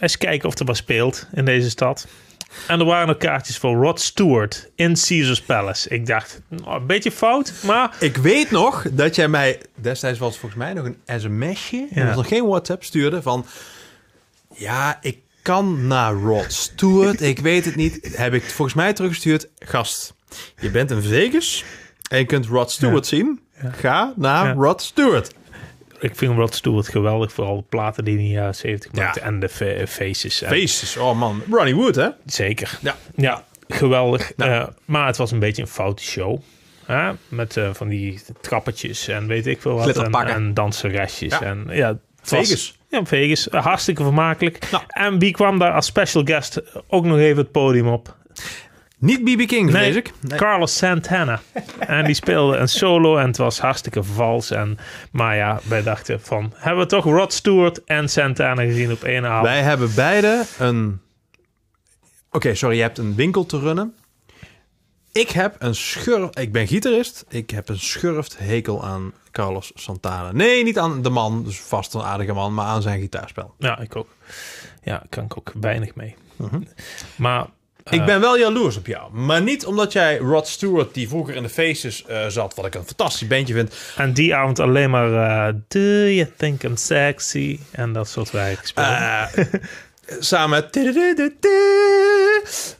Speaker 1: eens kijken of er wat speelt in deze stad. En er waren nog kaartjes voor Rod Stewart in Caesars Palace. Ik dacht, nou, een beetje fout, maar
Speaker 2: Ik weet nog dat jij mij, destijds was het volgens mij nog een sms'je, en
Speaker 1: Ja.
Speaker 2: dat was nog geen WhatsApp, stuurde van... Ja, ik kan naar Rod Stewart, ik weet het niet. Heb ik volgens mij teruggestuurd. Gast, je bent in Vegas en je kunt Rod Stewart zien. Ga naar
Speaker 1: Ja.
Speaker 2: Rod Stewart.
Speaker 1: ik vind Rod Stewart geweldig. Vooral de platen die hij in de jaren 70
Speaker 2: Ja.
Speaker 1: maakte en de fe- faces. En-
Speaker 2: Beestjes, oh man. Ronnie Wood, hè?
Speaker 1: Zeker.
Speaker 2: Ja.
Speaker 1: Ja, geweldig.
Speaker 2: Nou.
Speaker 1: Eh, maar het was een beetje een foute show. Hè? Met eh, van die trappetjes en weet ik veel wat. En,
Speaker 2: Glitterpakken.
Speaker 1: en danseresjes.
Speaker 2: Ja.
Speaker 1: En, ja, het was-
Speaker 2: Vegas.
Speaker 1: ja, Vegas. Eh, Hartstikke vermakelijk.
Speaker 2: Nou.
Speaker 1: En wie kwam daar als special guest ook nog even het podium op?
Speaker 2: Niet BB King, vrees ik.
Speaker 1: Carlos Santana. en die speelde een solo en het was hartstikke vals. En, maar ja, wij dachten van... Hebben we toch Rod Stewart en Santana gezien op één avond?
Speaker 2: Wij hebben beide een... Oké, sorry, je hebt een winkel te runnen. Ik heb een schurf... Ik ben gitarist. Ik heb een schurft hekel aan Carlos Santana. Nee, niet aan de man, dus vast een aardige man, maar aan zijn gitaarspel.
Speaker 1: Ja, ik ook. Ja, kan ik ook weinig mee.
Speaker 2: Mhm.
Speaker 1: Maar
Speaker 2: ik ben wel jaloers op jou. Maar niet omdat jij Rod Stewart, die vroeger in de feestjes eh, zat, wat ik een fantastisch bandje vind.
Speaker 1: En die avond alleen maar eh, Do you think I'm sexy? En dat soort werk spelen.
Speaker 2: eh, samen met...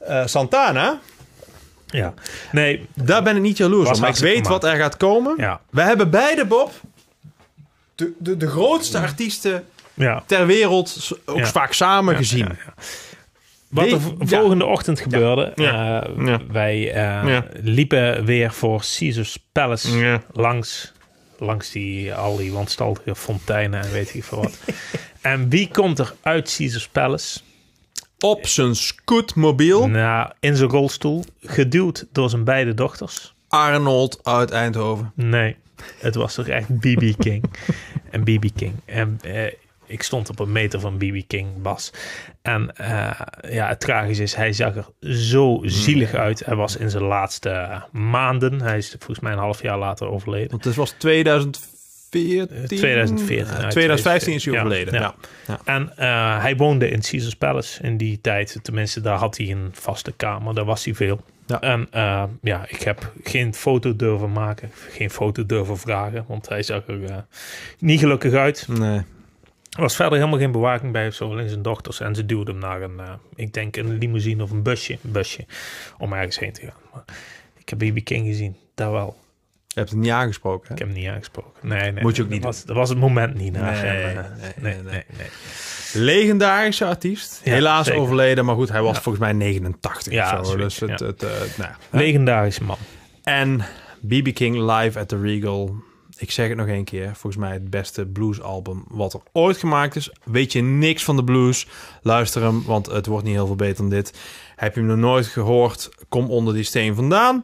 Speaker 2: eh, Santana.
Speaker 1: ja. Nee,
Speaker 2: Daar ben ik niet jaloers
Speaker 1: Was
Speaker 2: op. Maar ik
Speaker 1: hartstikke
Speaker 2: weet wat er gaat komen.
Speaker 1: Ja.
Speaker 2: We hebben beide, Bob, de, de, de grootste artiesten
Speaker 1: ja.
Speaker 2: ter wereld s- ook
Speaker 1: Ja.
Speaker 2: vaak samen gezien.
Speaker 1: Wat
Speaker 2: Die-
Speaker 1: er v-
Speaker 2: ja.
Speaker 1: volgende ochtend gebeurde.
Speaker 2: Ja.
Speaker 1: eh,
Speaker 2: Ja.
Speaker 1: Wij eh,
Speaker 2: Ja.
Speaker 1: liepen weer voor Caesars Palace
Speaker 2: Ja.
Speaker 1: langs, langs die, al die wanstaltige fonteinen en weet ik veel
Speaker 2: [LAUGHS]
Speaker 1: wat. en wie komt er uit Caesars Palace?
Speaker 2: Op zijn scootmobiel.
Speaker 1: Nou, in zijn rolstoel, geduwd door zijn beide dochters.
Speaker 2: Arnold uit Eindhoven.
Speaker 1: Nee, het was toch echt BB King. en BB King. En eh, ik stond op een meter van BB King, Bas. En eh, ja, het tragisch is, hij zag er zo zielig uit. Hij was in zijn laatste eh, maanden. Hij is volgens mij een half jaar later overleden.
Speaker 2: Want het was 2014.
Speaker 1: 2014,
Speaker 2: Eh,
Speaker 1: ja,
Speaker 2: 2015 is hij
Speaker 1: ja,
Speaker 2: overleden.
Speaker 1: ja.
Speaker 2: Ja. Ja.
Speaker 1: En eh, hij woonde in Caesars Palace in die tijd. Tenminste, daar had hij een vaste kamer. Daar was hij veel.
Speaker 2: Ja.
Speaker 1: En eh, ja, ik heb geen foto durven maken. Geen foto durven vragen. Want hij zag er eh, niet gelukkig uit.
Speaker 2: Nee.
Speaker 1: Er was verder helemaal geen bewaking bij of zo, alleen zijn dochters. En ze duwde hem naar een, eh, ik denk een limousine of een busje, een busje om ergens heen te gaan. Maar ik heb BB King gezien, daar wel.
Speaker 2: Je hebt het niet aangesproken. Hè?
Speaker 1: Ik heb hem niet aangesproken. Nee, nee.
Speaker 2: Moet je ook
Speaker 1: dat
Speaker 2: niet
Speaker 1: was, Dat was het moment niet. naar.
Speaker 2: Nee,
Speaker 1: En, eh,
Speaker 2: nee,
Speaker 1: nee,
Speaker 2: nee,
Speaker 1: nee, nee.
Speaker 2: Legendarische artiest.
Speaker 1: Ja,
Speaker 2: Helaas
Speaker 1: zeker.
Speaker 2: overleden, maar goed, hij was volgens mij 89
Speaker 1: Ja,
Speaker 2: of zo.
Speaker 1: zoiets,
Speaker 2: Dus het,
Speaker 1: ja.
Speaker 2: het, eh, nou, ja.
Speaker 1: Legendarische man.
Speaker 2: En BB King live at the Regal. Ik zeg het nog één keer. Volgens mij het beste bluesalbum wat er ooit gemaakt is. Weet je niks van de blues? Luister hem, want het wordt niet heel veel beter dan dit. Heb je hem nog nooit gehoord? Kom onder die steen vandaan.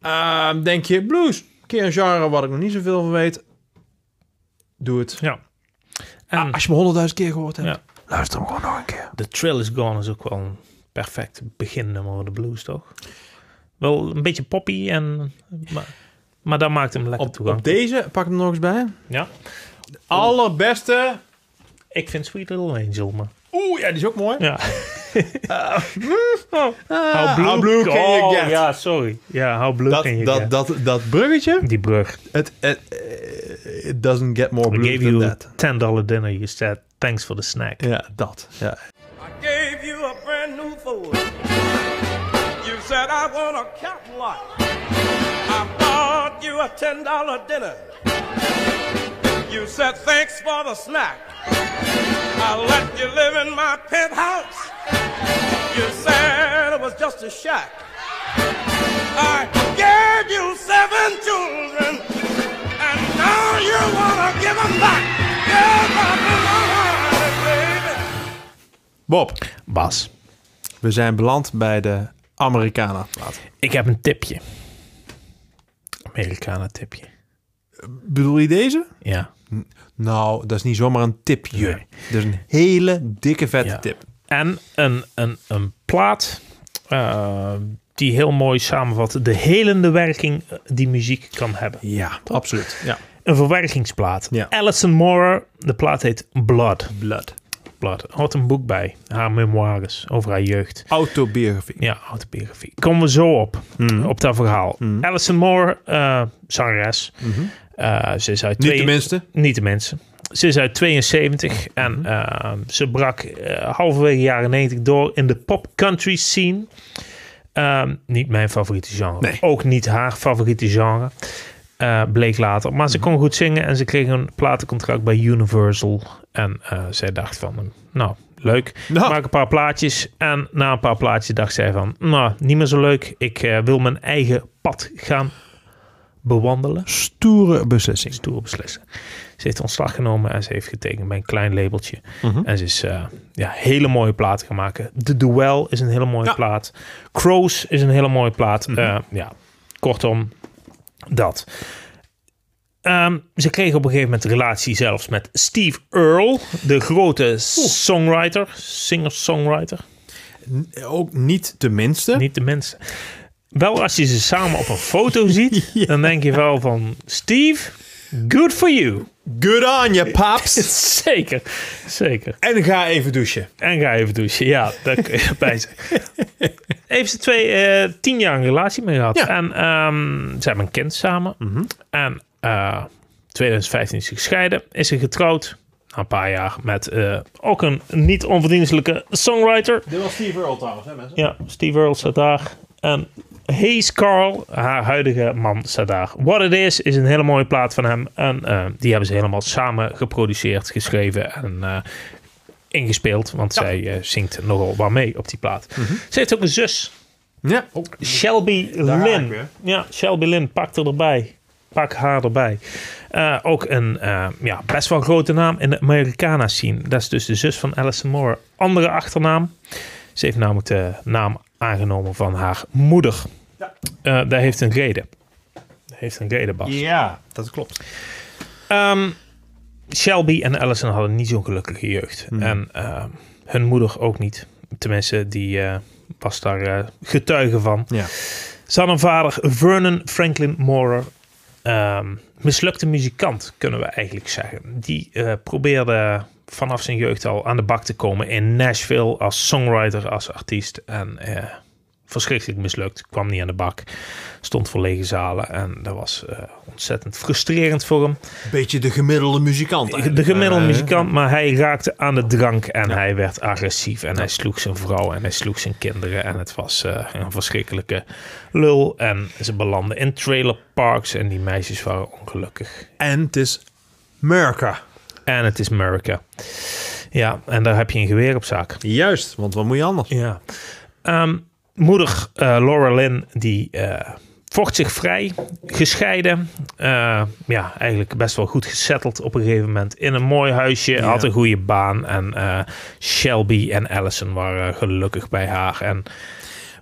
Speaker 2: Ehm, denk je, blues, een keer een genre wat ik nog niet zoveel van weet. Doe het.
Speaker 1: Ja. En
Speaker 2: Ah, Als je me honderdduizend keer gehoord hebt,
Speaker 1: Ja.
Speaker 2: luister hem gewoon nog een keer.
Speaker 1: The Trill Is Gone is ook wel een perfect beginnummer van de blues, toch? Wel een beetje poppy, en, maar, maar dat maakt hem lekker
Speaker 2: Op, op
Speaker 1: toegankelijk.
Speaker 2: deze, pak hem nog eens bij.
Speaker 1: Ja.
Speaker 2: Allerbeste.
Speaker 1: Ik vind Sweet Little Angel, maar...
Speaker 2: Oeh, ja, die is ook mooi.
Speaker 1: [LAUGHS] Ja.
Speaker 2: Ah, how blue can you
Speaker 1: oh,
Speaker 2: get?
Speaker 1: Ja, sorry. Ja, how blue
Speaker 2: dat,
Speaker 1: can you
Speaker 2: dat,
Speaker 1: get?
Speaker 2: dat, dat bruggetje,
Speaker 1: Die brug.
Speaker 2: het, het, eh, it doesn't get more
Speaker 1: We
Speaker 2: blue
Speaker 1: gave
Speaker 2: than
Speaker 1: you
Speaker 2: that.
Speaker 1: $10 dinner. You said, thanks for the snack.
Speaker 2: Ja, dat. Ja.
Speaker 4: I gave you a brand new Ford. You said I want a cat lot. I bought you a ten dollar dinner. You said thanks for the snack. I let you live in my penthouse. You said it was just a shack. I gave you seven children, and now you wanna give 'em back. Give 'em away, baby.
Speaker 2: Bob,
Speaker 1: Bas,
Speaker 2: we zijn beland bij de Americana plaat.
Speaker 1: ik heb een tipje. Amerikanen tipje.
Speaker 2: Bedoel je deze?
Speaker 1: Ja.
Speaker 2: Nou, dat is niet zomaar een tipje. Dat is een hele dikke vette
Speaker 1: Ja.
Speaker 2: tip.
Speaker 1: En een, een, een plaat eh, die heel mooi samenvat de helende werking eh, die muziek kan hebben.
Speaker 2: Ja, absoluut. Ja.
Speaker 1: Een verwerkingsplaat.
Speaker 2: Ja.
Speaker 1: Alison Moore, de plaat heet Blood.
Speaker 2: Blood.
Speaker 1: Blood. Had een boek bij, haar memoires over haar jeugd.
Speaker 2: Autobiografie.
Speaker 1: Ja, autobiografie. Komen we zo op,
Speaker 2: Mhm.
Speaker 1: op dat verhaal. Alison Moore, eh zangeres. Eh, ze is uit
Speaker 2: Mhm. Niet
Speaker 1: twee-
Speaker 2: de minste.
Speaker 1: Niet de mensen. Ze is uit 72 en
Speaker 2: Mhm.
Speaker 1: eh, ze brak eh, halverwege jaren 90 door in de pop-country scene. Ehm, niet mijn favoriete genre.
Speaker 2: Nee.
Speaker 1: Ook niet haar favoriete genre. Eh, bleek later. Maar
Speaker 2: Mhm.
Speaker 1: ze kon goed zingen en ze kreeg een platencontract bij Universal. En eh, zij dacht van, nou, leuk.
Speaker 2: Nou.
Speaker 1: Maak een paar plaatjes. En na een paar plaatjes dacht zij van, nou, niet meer zo leuk. Ik eh, wil mijn eigen pad gaan bewandelen
Speaker 2: Stoere beslissing.
Speaker 1: tour beslissen. Ze heeft ontslag genomen en ze heeft getekend bij een klein labeltje. En ze is eh, ja, hele mooie plaat gaan maken. The Duel is een hele mooie
Speaker 2: Ja.
Speaker 1: plaat. Crows is een hele mooie plaat. Eh, ja, kortom, dat. Ehm, ze kreeg op een gegeven moment een relatie zelfs met Steve Earle, de grote songwriter, singer-songwriter.
Speaker 2: Ook niet de minste.
Speaker 1: Niet de mensen. Wel als je ze samen op een foto ziet, dan denk je wel van Steve, good for you.
Speaker 2: Good on je paps.
Speaker 1: [LAUGHS] Zeker, zeker.
Speaker 2: en ga even douchen.
Speaker 1: En ga even douchen. Ja, daar kun je bij
Speaker 2: [LAUGHS]
Speaker 1: zijn. Heeft ze twee, eh, tien jaar een relatie mee gehad.
Speaker 2: Ja. Mhm.
Speaker 1: En ehm, ze hebben een kind samen. En eh 2015 is ze gescheiden. Is ze getrouwd. Na een paar jaar met eh, ook een niet onverdienstelijke songwriter.
Speaker 2: Dit was Steve Earle trouwens, hè mensen?
Speaker 1: Ja, Steve Earle staat daar. En Hayes Carl, haar huidige man, staat daar. What It Is is een hele mooie plaat van hem. En eh, die hebben ze helemaal samen geproduceerd, geschreven en eh, ingespeeld. Want zij eh, zingt nogal wat mee op die plaat. Ze heeft ook een zus,
Speaker 2: Ja. Oh,
Speaker 1: Shelby
Speaker 2: ga ik
Speaker 1: Lynn.
Speaker 2: weer.
Speaker 1: Ja, Shelby Lynn, pak er erbij. Pak haar erbij. Eh, ook een eh, ja, best wel grote naam in de Americana scene. Dat is dus de zus van Alison Moore. Andere achternaam. Ze heeft namelijk de naam aangenomen van haar moeder. Eh, daar heeft een reden. Dat heeft een reden, Bas.
Speaker 2: ja, dat klopt.
Speaker 1: Ehm, Shelby en Allison hadden niet zo'n gelukkige jeugd.
Speaker 2: Hmm.
Speaker 1: En eh, hun moeder ook niet. Tenminste, die eh, was daar eh, getuige van.
Speaker 2: Ja.
Speaker 1: Ze hadden een vader, Vernon Franklin Moore. Ehm, mislukte muzikant, kunnen we eigenlijk zeggen. Die eh, probeerde vanaf zijn jeugd al aan de bak te komen in Nashville als songwriter, als artiest. En eh, verschrikkelijk mislukt, kwam niet aan de bak, stond voor lege zalen. En dat was eh, ontzettend frustrerend voor hem.
Speaker 2: Beetje de gemiddelde muzikant.
Speaker 1: De
Speaker 2: eigenlijk.
Speaker 1: gemiddelde
Speaker 2: Eh,
Speaker 1: muzikant, maar hij raakte aan de drank en hij werd agressief. En hij sloeg zijn vrouw en hij sloeg zijn kinderen. En het was eh, een verschrikkelijke lul. En ze belanden in trailerparks en die meisjes waren ongelukkig.
Speaker 2: En het is Merca.
Speaker 1: En het is America. Ja, en daar heb je een geweer op zak.
Speaker 2: Juist, want wat moet je anders?
Speaker 1: Ja. Ehm, moeder eh, Laura Lynn, die eh, vocht zich vrij, gescheiden. Eh, ja, eigenlijk best wel goed gezetteld op een gegeven moment. In een mooi huisje, had een goede baan. En eh, Shelby en Allison waren gelukkig bij haar. En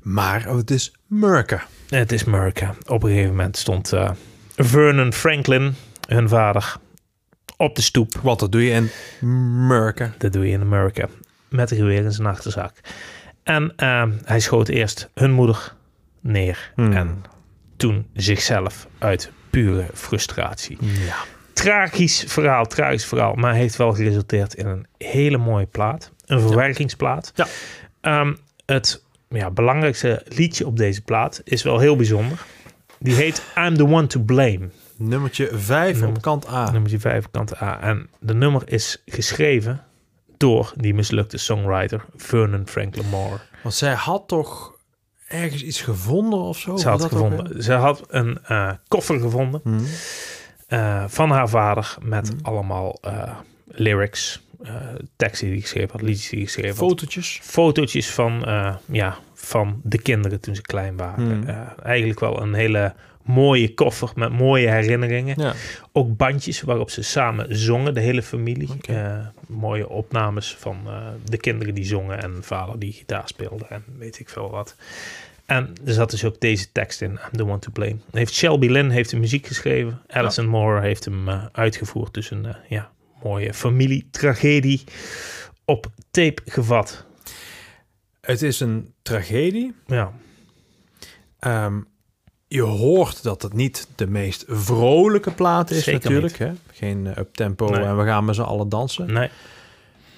Speaker 2: Maar oh, het is Murken.
Speaker 1: het is America. Op een gegeven moment stond eh, Vernon Franklin, hun vader, op de stoep.
Speaker 2: Wat dat doe je in Murken?
Speaker 1: Dat doe je in Amerika. Met een geweer in zijn achterzak. En ehm, hij schoot eerst hun moeder neer. En toen zichzelf uit pure frustratie.
Speaker 2: Ja.
Speaker 1: Tragisch verhaal, tragisch verhaal. Maar heeft wel geresulteerd in een hele mooie plaat. Een verwerkingsplaat.
Speaker 2: Ja.
Speaker 1: Ehm, het ja, belangrijkste liedje op deze plaat is wel heel bijzonder. Die heet I'm the One to Blame.
Speaker 2: Nummertje 5
Speaker 1: Nummer-
Speaker 2: op kant A.
Speaker 1: Nummer 5, kant A. En de nummer is geschreven door die mislukte songwriter Vernon Franklin Moore.
Speaker 2: Want zij had toch ergens iets gevonden of zo?
Speaker 1: Ze had,
Speaker 2: Was Oh, dat ook Hmm.
Speaker 1: gevonden, ze had een eh, koffer gevonden eh, van haar vader met allemaal eh, lyrics, eh, teksten die hij geschreven had, liedjes die hij geschreven
Speaker 2: een-
Speaker 1: had.
Speaker 2: Fotootjes.
Speaker 1: fotootjes van, eh, ja, van de kinderen toen ze klein
Speaker 2: Hmm.
Speaker 1: waren. Eh, eigenlijk wel een hele mooie koffer met mooie herinneringen.
Speaker 2: Ja.
Speaker 1: Ook bandjes waarop ze samen zongen, de hele familie.
Speaker 2: Oké.
Speaker 1: Eh, mooie opnames van eh, de kinderen die zongen en vader die gitaar speelde en weet ik veel wat. En er zat dus ook deze tekst in, I'm the one to blame. Heeft Shelby Lynn heeft de muziek geschreven. Alison Moore heeft hem eh, uitgevoerd. Dus een eh, ja, mooie familietragedie op tape gevat.
Speaker 2: Het is een tragedie.
Speaker 1: Ja,
Speaker 2: Ehm, je hoort dat het niet de meest vrolijke plaat is
Speaker 1: Zeker
Speaker 2: natuurlijk. Hè? Geen up uptempo
Speaker 1: Nee.
Speaker 2: en we gaan met z'n allen dansen.
Speaker 1: nee,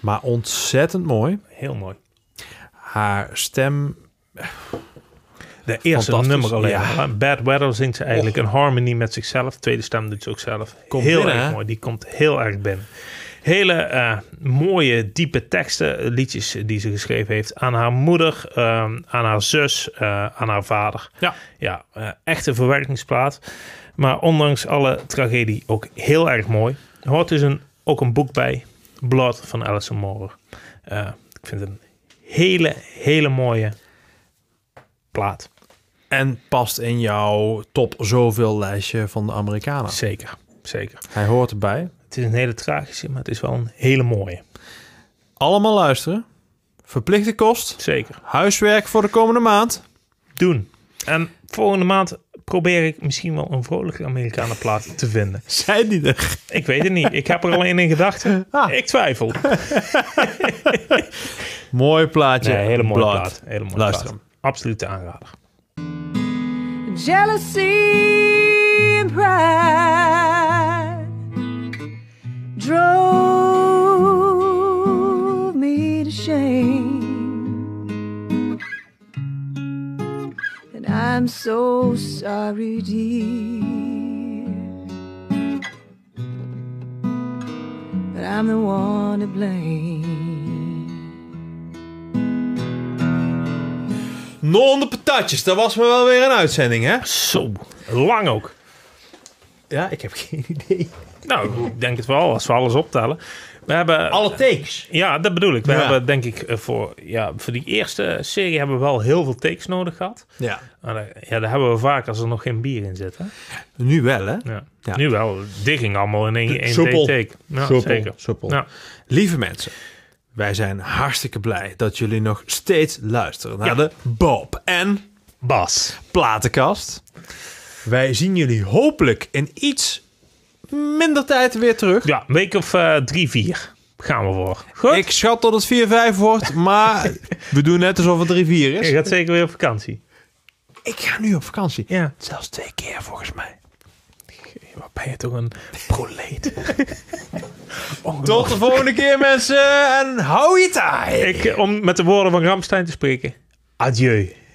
Speaker 2: Maar ontzettend mooi.
Speaker 1: heel mooi.
Speaker 2: Haar stem
Speaker 1: De eerste
Speaker 2: Fantastisch,
Speaker 1: nummer alleen.
Speaker 2: ja.
Speaker 1: maar. Bad Weather zingt ze eigenlijk in harmony met zichzelf. Tweede stem doet ze ook zelf.
Speaker 2: Komt
Speaker 1: heel
Speaker 2: binnen,
Speaker 1: erg
Speaker 2: hè?
Speaker 1: mooi. Die komt heel erg binnen. Hele eh, mooie, diepe teksten, eh, liedjes die ze geschreven heeft. Aan haar moeder, ehm, aan haar zus, eh, aan haar vader.
Speaker 2: Ja.
Speaker 1: Ja, eh, echt een verwerkingsplaat. Maar ondanks alle tragedie ook heel erg mooi. Er hoort dus een, ook een boek bij. Blood van Alison Moore. Eh, ik vind het een hele, hele mooie plaat.
Speaker 2: en past in jouw top zoveel lijstje van de Amerikanen.
Speaker 1: Zeker, zeker.
Speaker 2: Hij hoort erbij.
Speaker 1: Het is een hele tragische, maar het is wel een hele mooie.
Speaker 2: Allemaal luisteren. Verplichte kost.
Speaker 1: Zeker.
Speaker 2: Huiswerk voor de komende maand.
Speaker 1: Doen. En volgende maand probeer ik misschien wel een vrolijke Amerikanenplaat te vinden.
Speaker 2: Zijn die er?
Speaker 1: Ik weet het niet. Ik heb er alleen in [LAUGHS] gedachten.
Speaker 2: Ah.
Speaker 1: Ik twijfel.
Speaker 2: Mooi plaatje.
Speaker 1: Nee, hele mooie
Speaker 2: Blood.
Speaker 1: plaat. Hele mooie
Speaker 2: Luister
Speaker 1: plaat.
Speaker 2: hem.
Speaker 1: Absolute aanrader.
Speaker 5: jealousy and pride drove me to shame. And I'm so sorry, dear, but I'm the one to blame.
Speaker 2: Non de patatjes. Dat was me wel weer een uitzending, hè?
Speaker 1: Zo, lang ook.
Speaker 2: Ja, ik heb geen idee.
Speaker 1: Nou, ik denk het wel, als we alles optellen. We hebben...
Speaker 2: Alle takes.
Speaker 1: Ja, dat bedoel ik. We
Speaker 2: Ja.
Speaker 1: hebben denk ik eh, voor, ja, voor die eerste serie hebben we wel heel veel takes nodig gehad.
Speaker 2: Ja.
Speaker 1: Maar daar- ja, daar hebben we vaak als er nog geen bier in zit. Hè?
Speaker 2: Nu wel, hè?
Speaker 1: Ja.
Speaker 2: Ja.
Speaker 1: Nu wel. Dit ging allemaal in één, één
Speaker 2: Soepel.
Speaker 1: take. Ja,
Speaker 2: Soepel,
Speaker 1: zeker.
Speaker 2: soepel.
Speaker 1: Ja.
Speaker 2: Lieve mensen, wij zijn hartstikke blij dat jullie nog steeds luisteren naar de Bob en
Speaker 1: Bas.
Speaker 2: Platenkast. Wij zien jullie hopelijk in iets minder tijd weer terug.
Speaker 1: Ja, een week of eh, drie, vier gaan we voor. Goed.
Speaker 2: Ik schat dat het 4-5 wordt, [LAUGHS] maar we doen net alsof het rivier
Speaker 1: Je
Speaker 2: is.
Speaker 1: gaat zeker weer op vakantie.
Speaker 2: Ik ga nu op vakantie.
Speaker 1: Ja.
Speaker 2: Zelfs twee keer volgens mij.
Speaker 1: Wat ben je toch een proleet.
Speaker 2: Tot de volgende keer mensen en hou je taai.
Speaker 1: Ik, eh, om met de woorden van Ramstein te spreken. Adieu.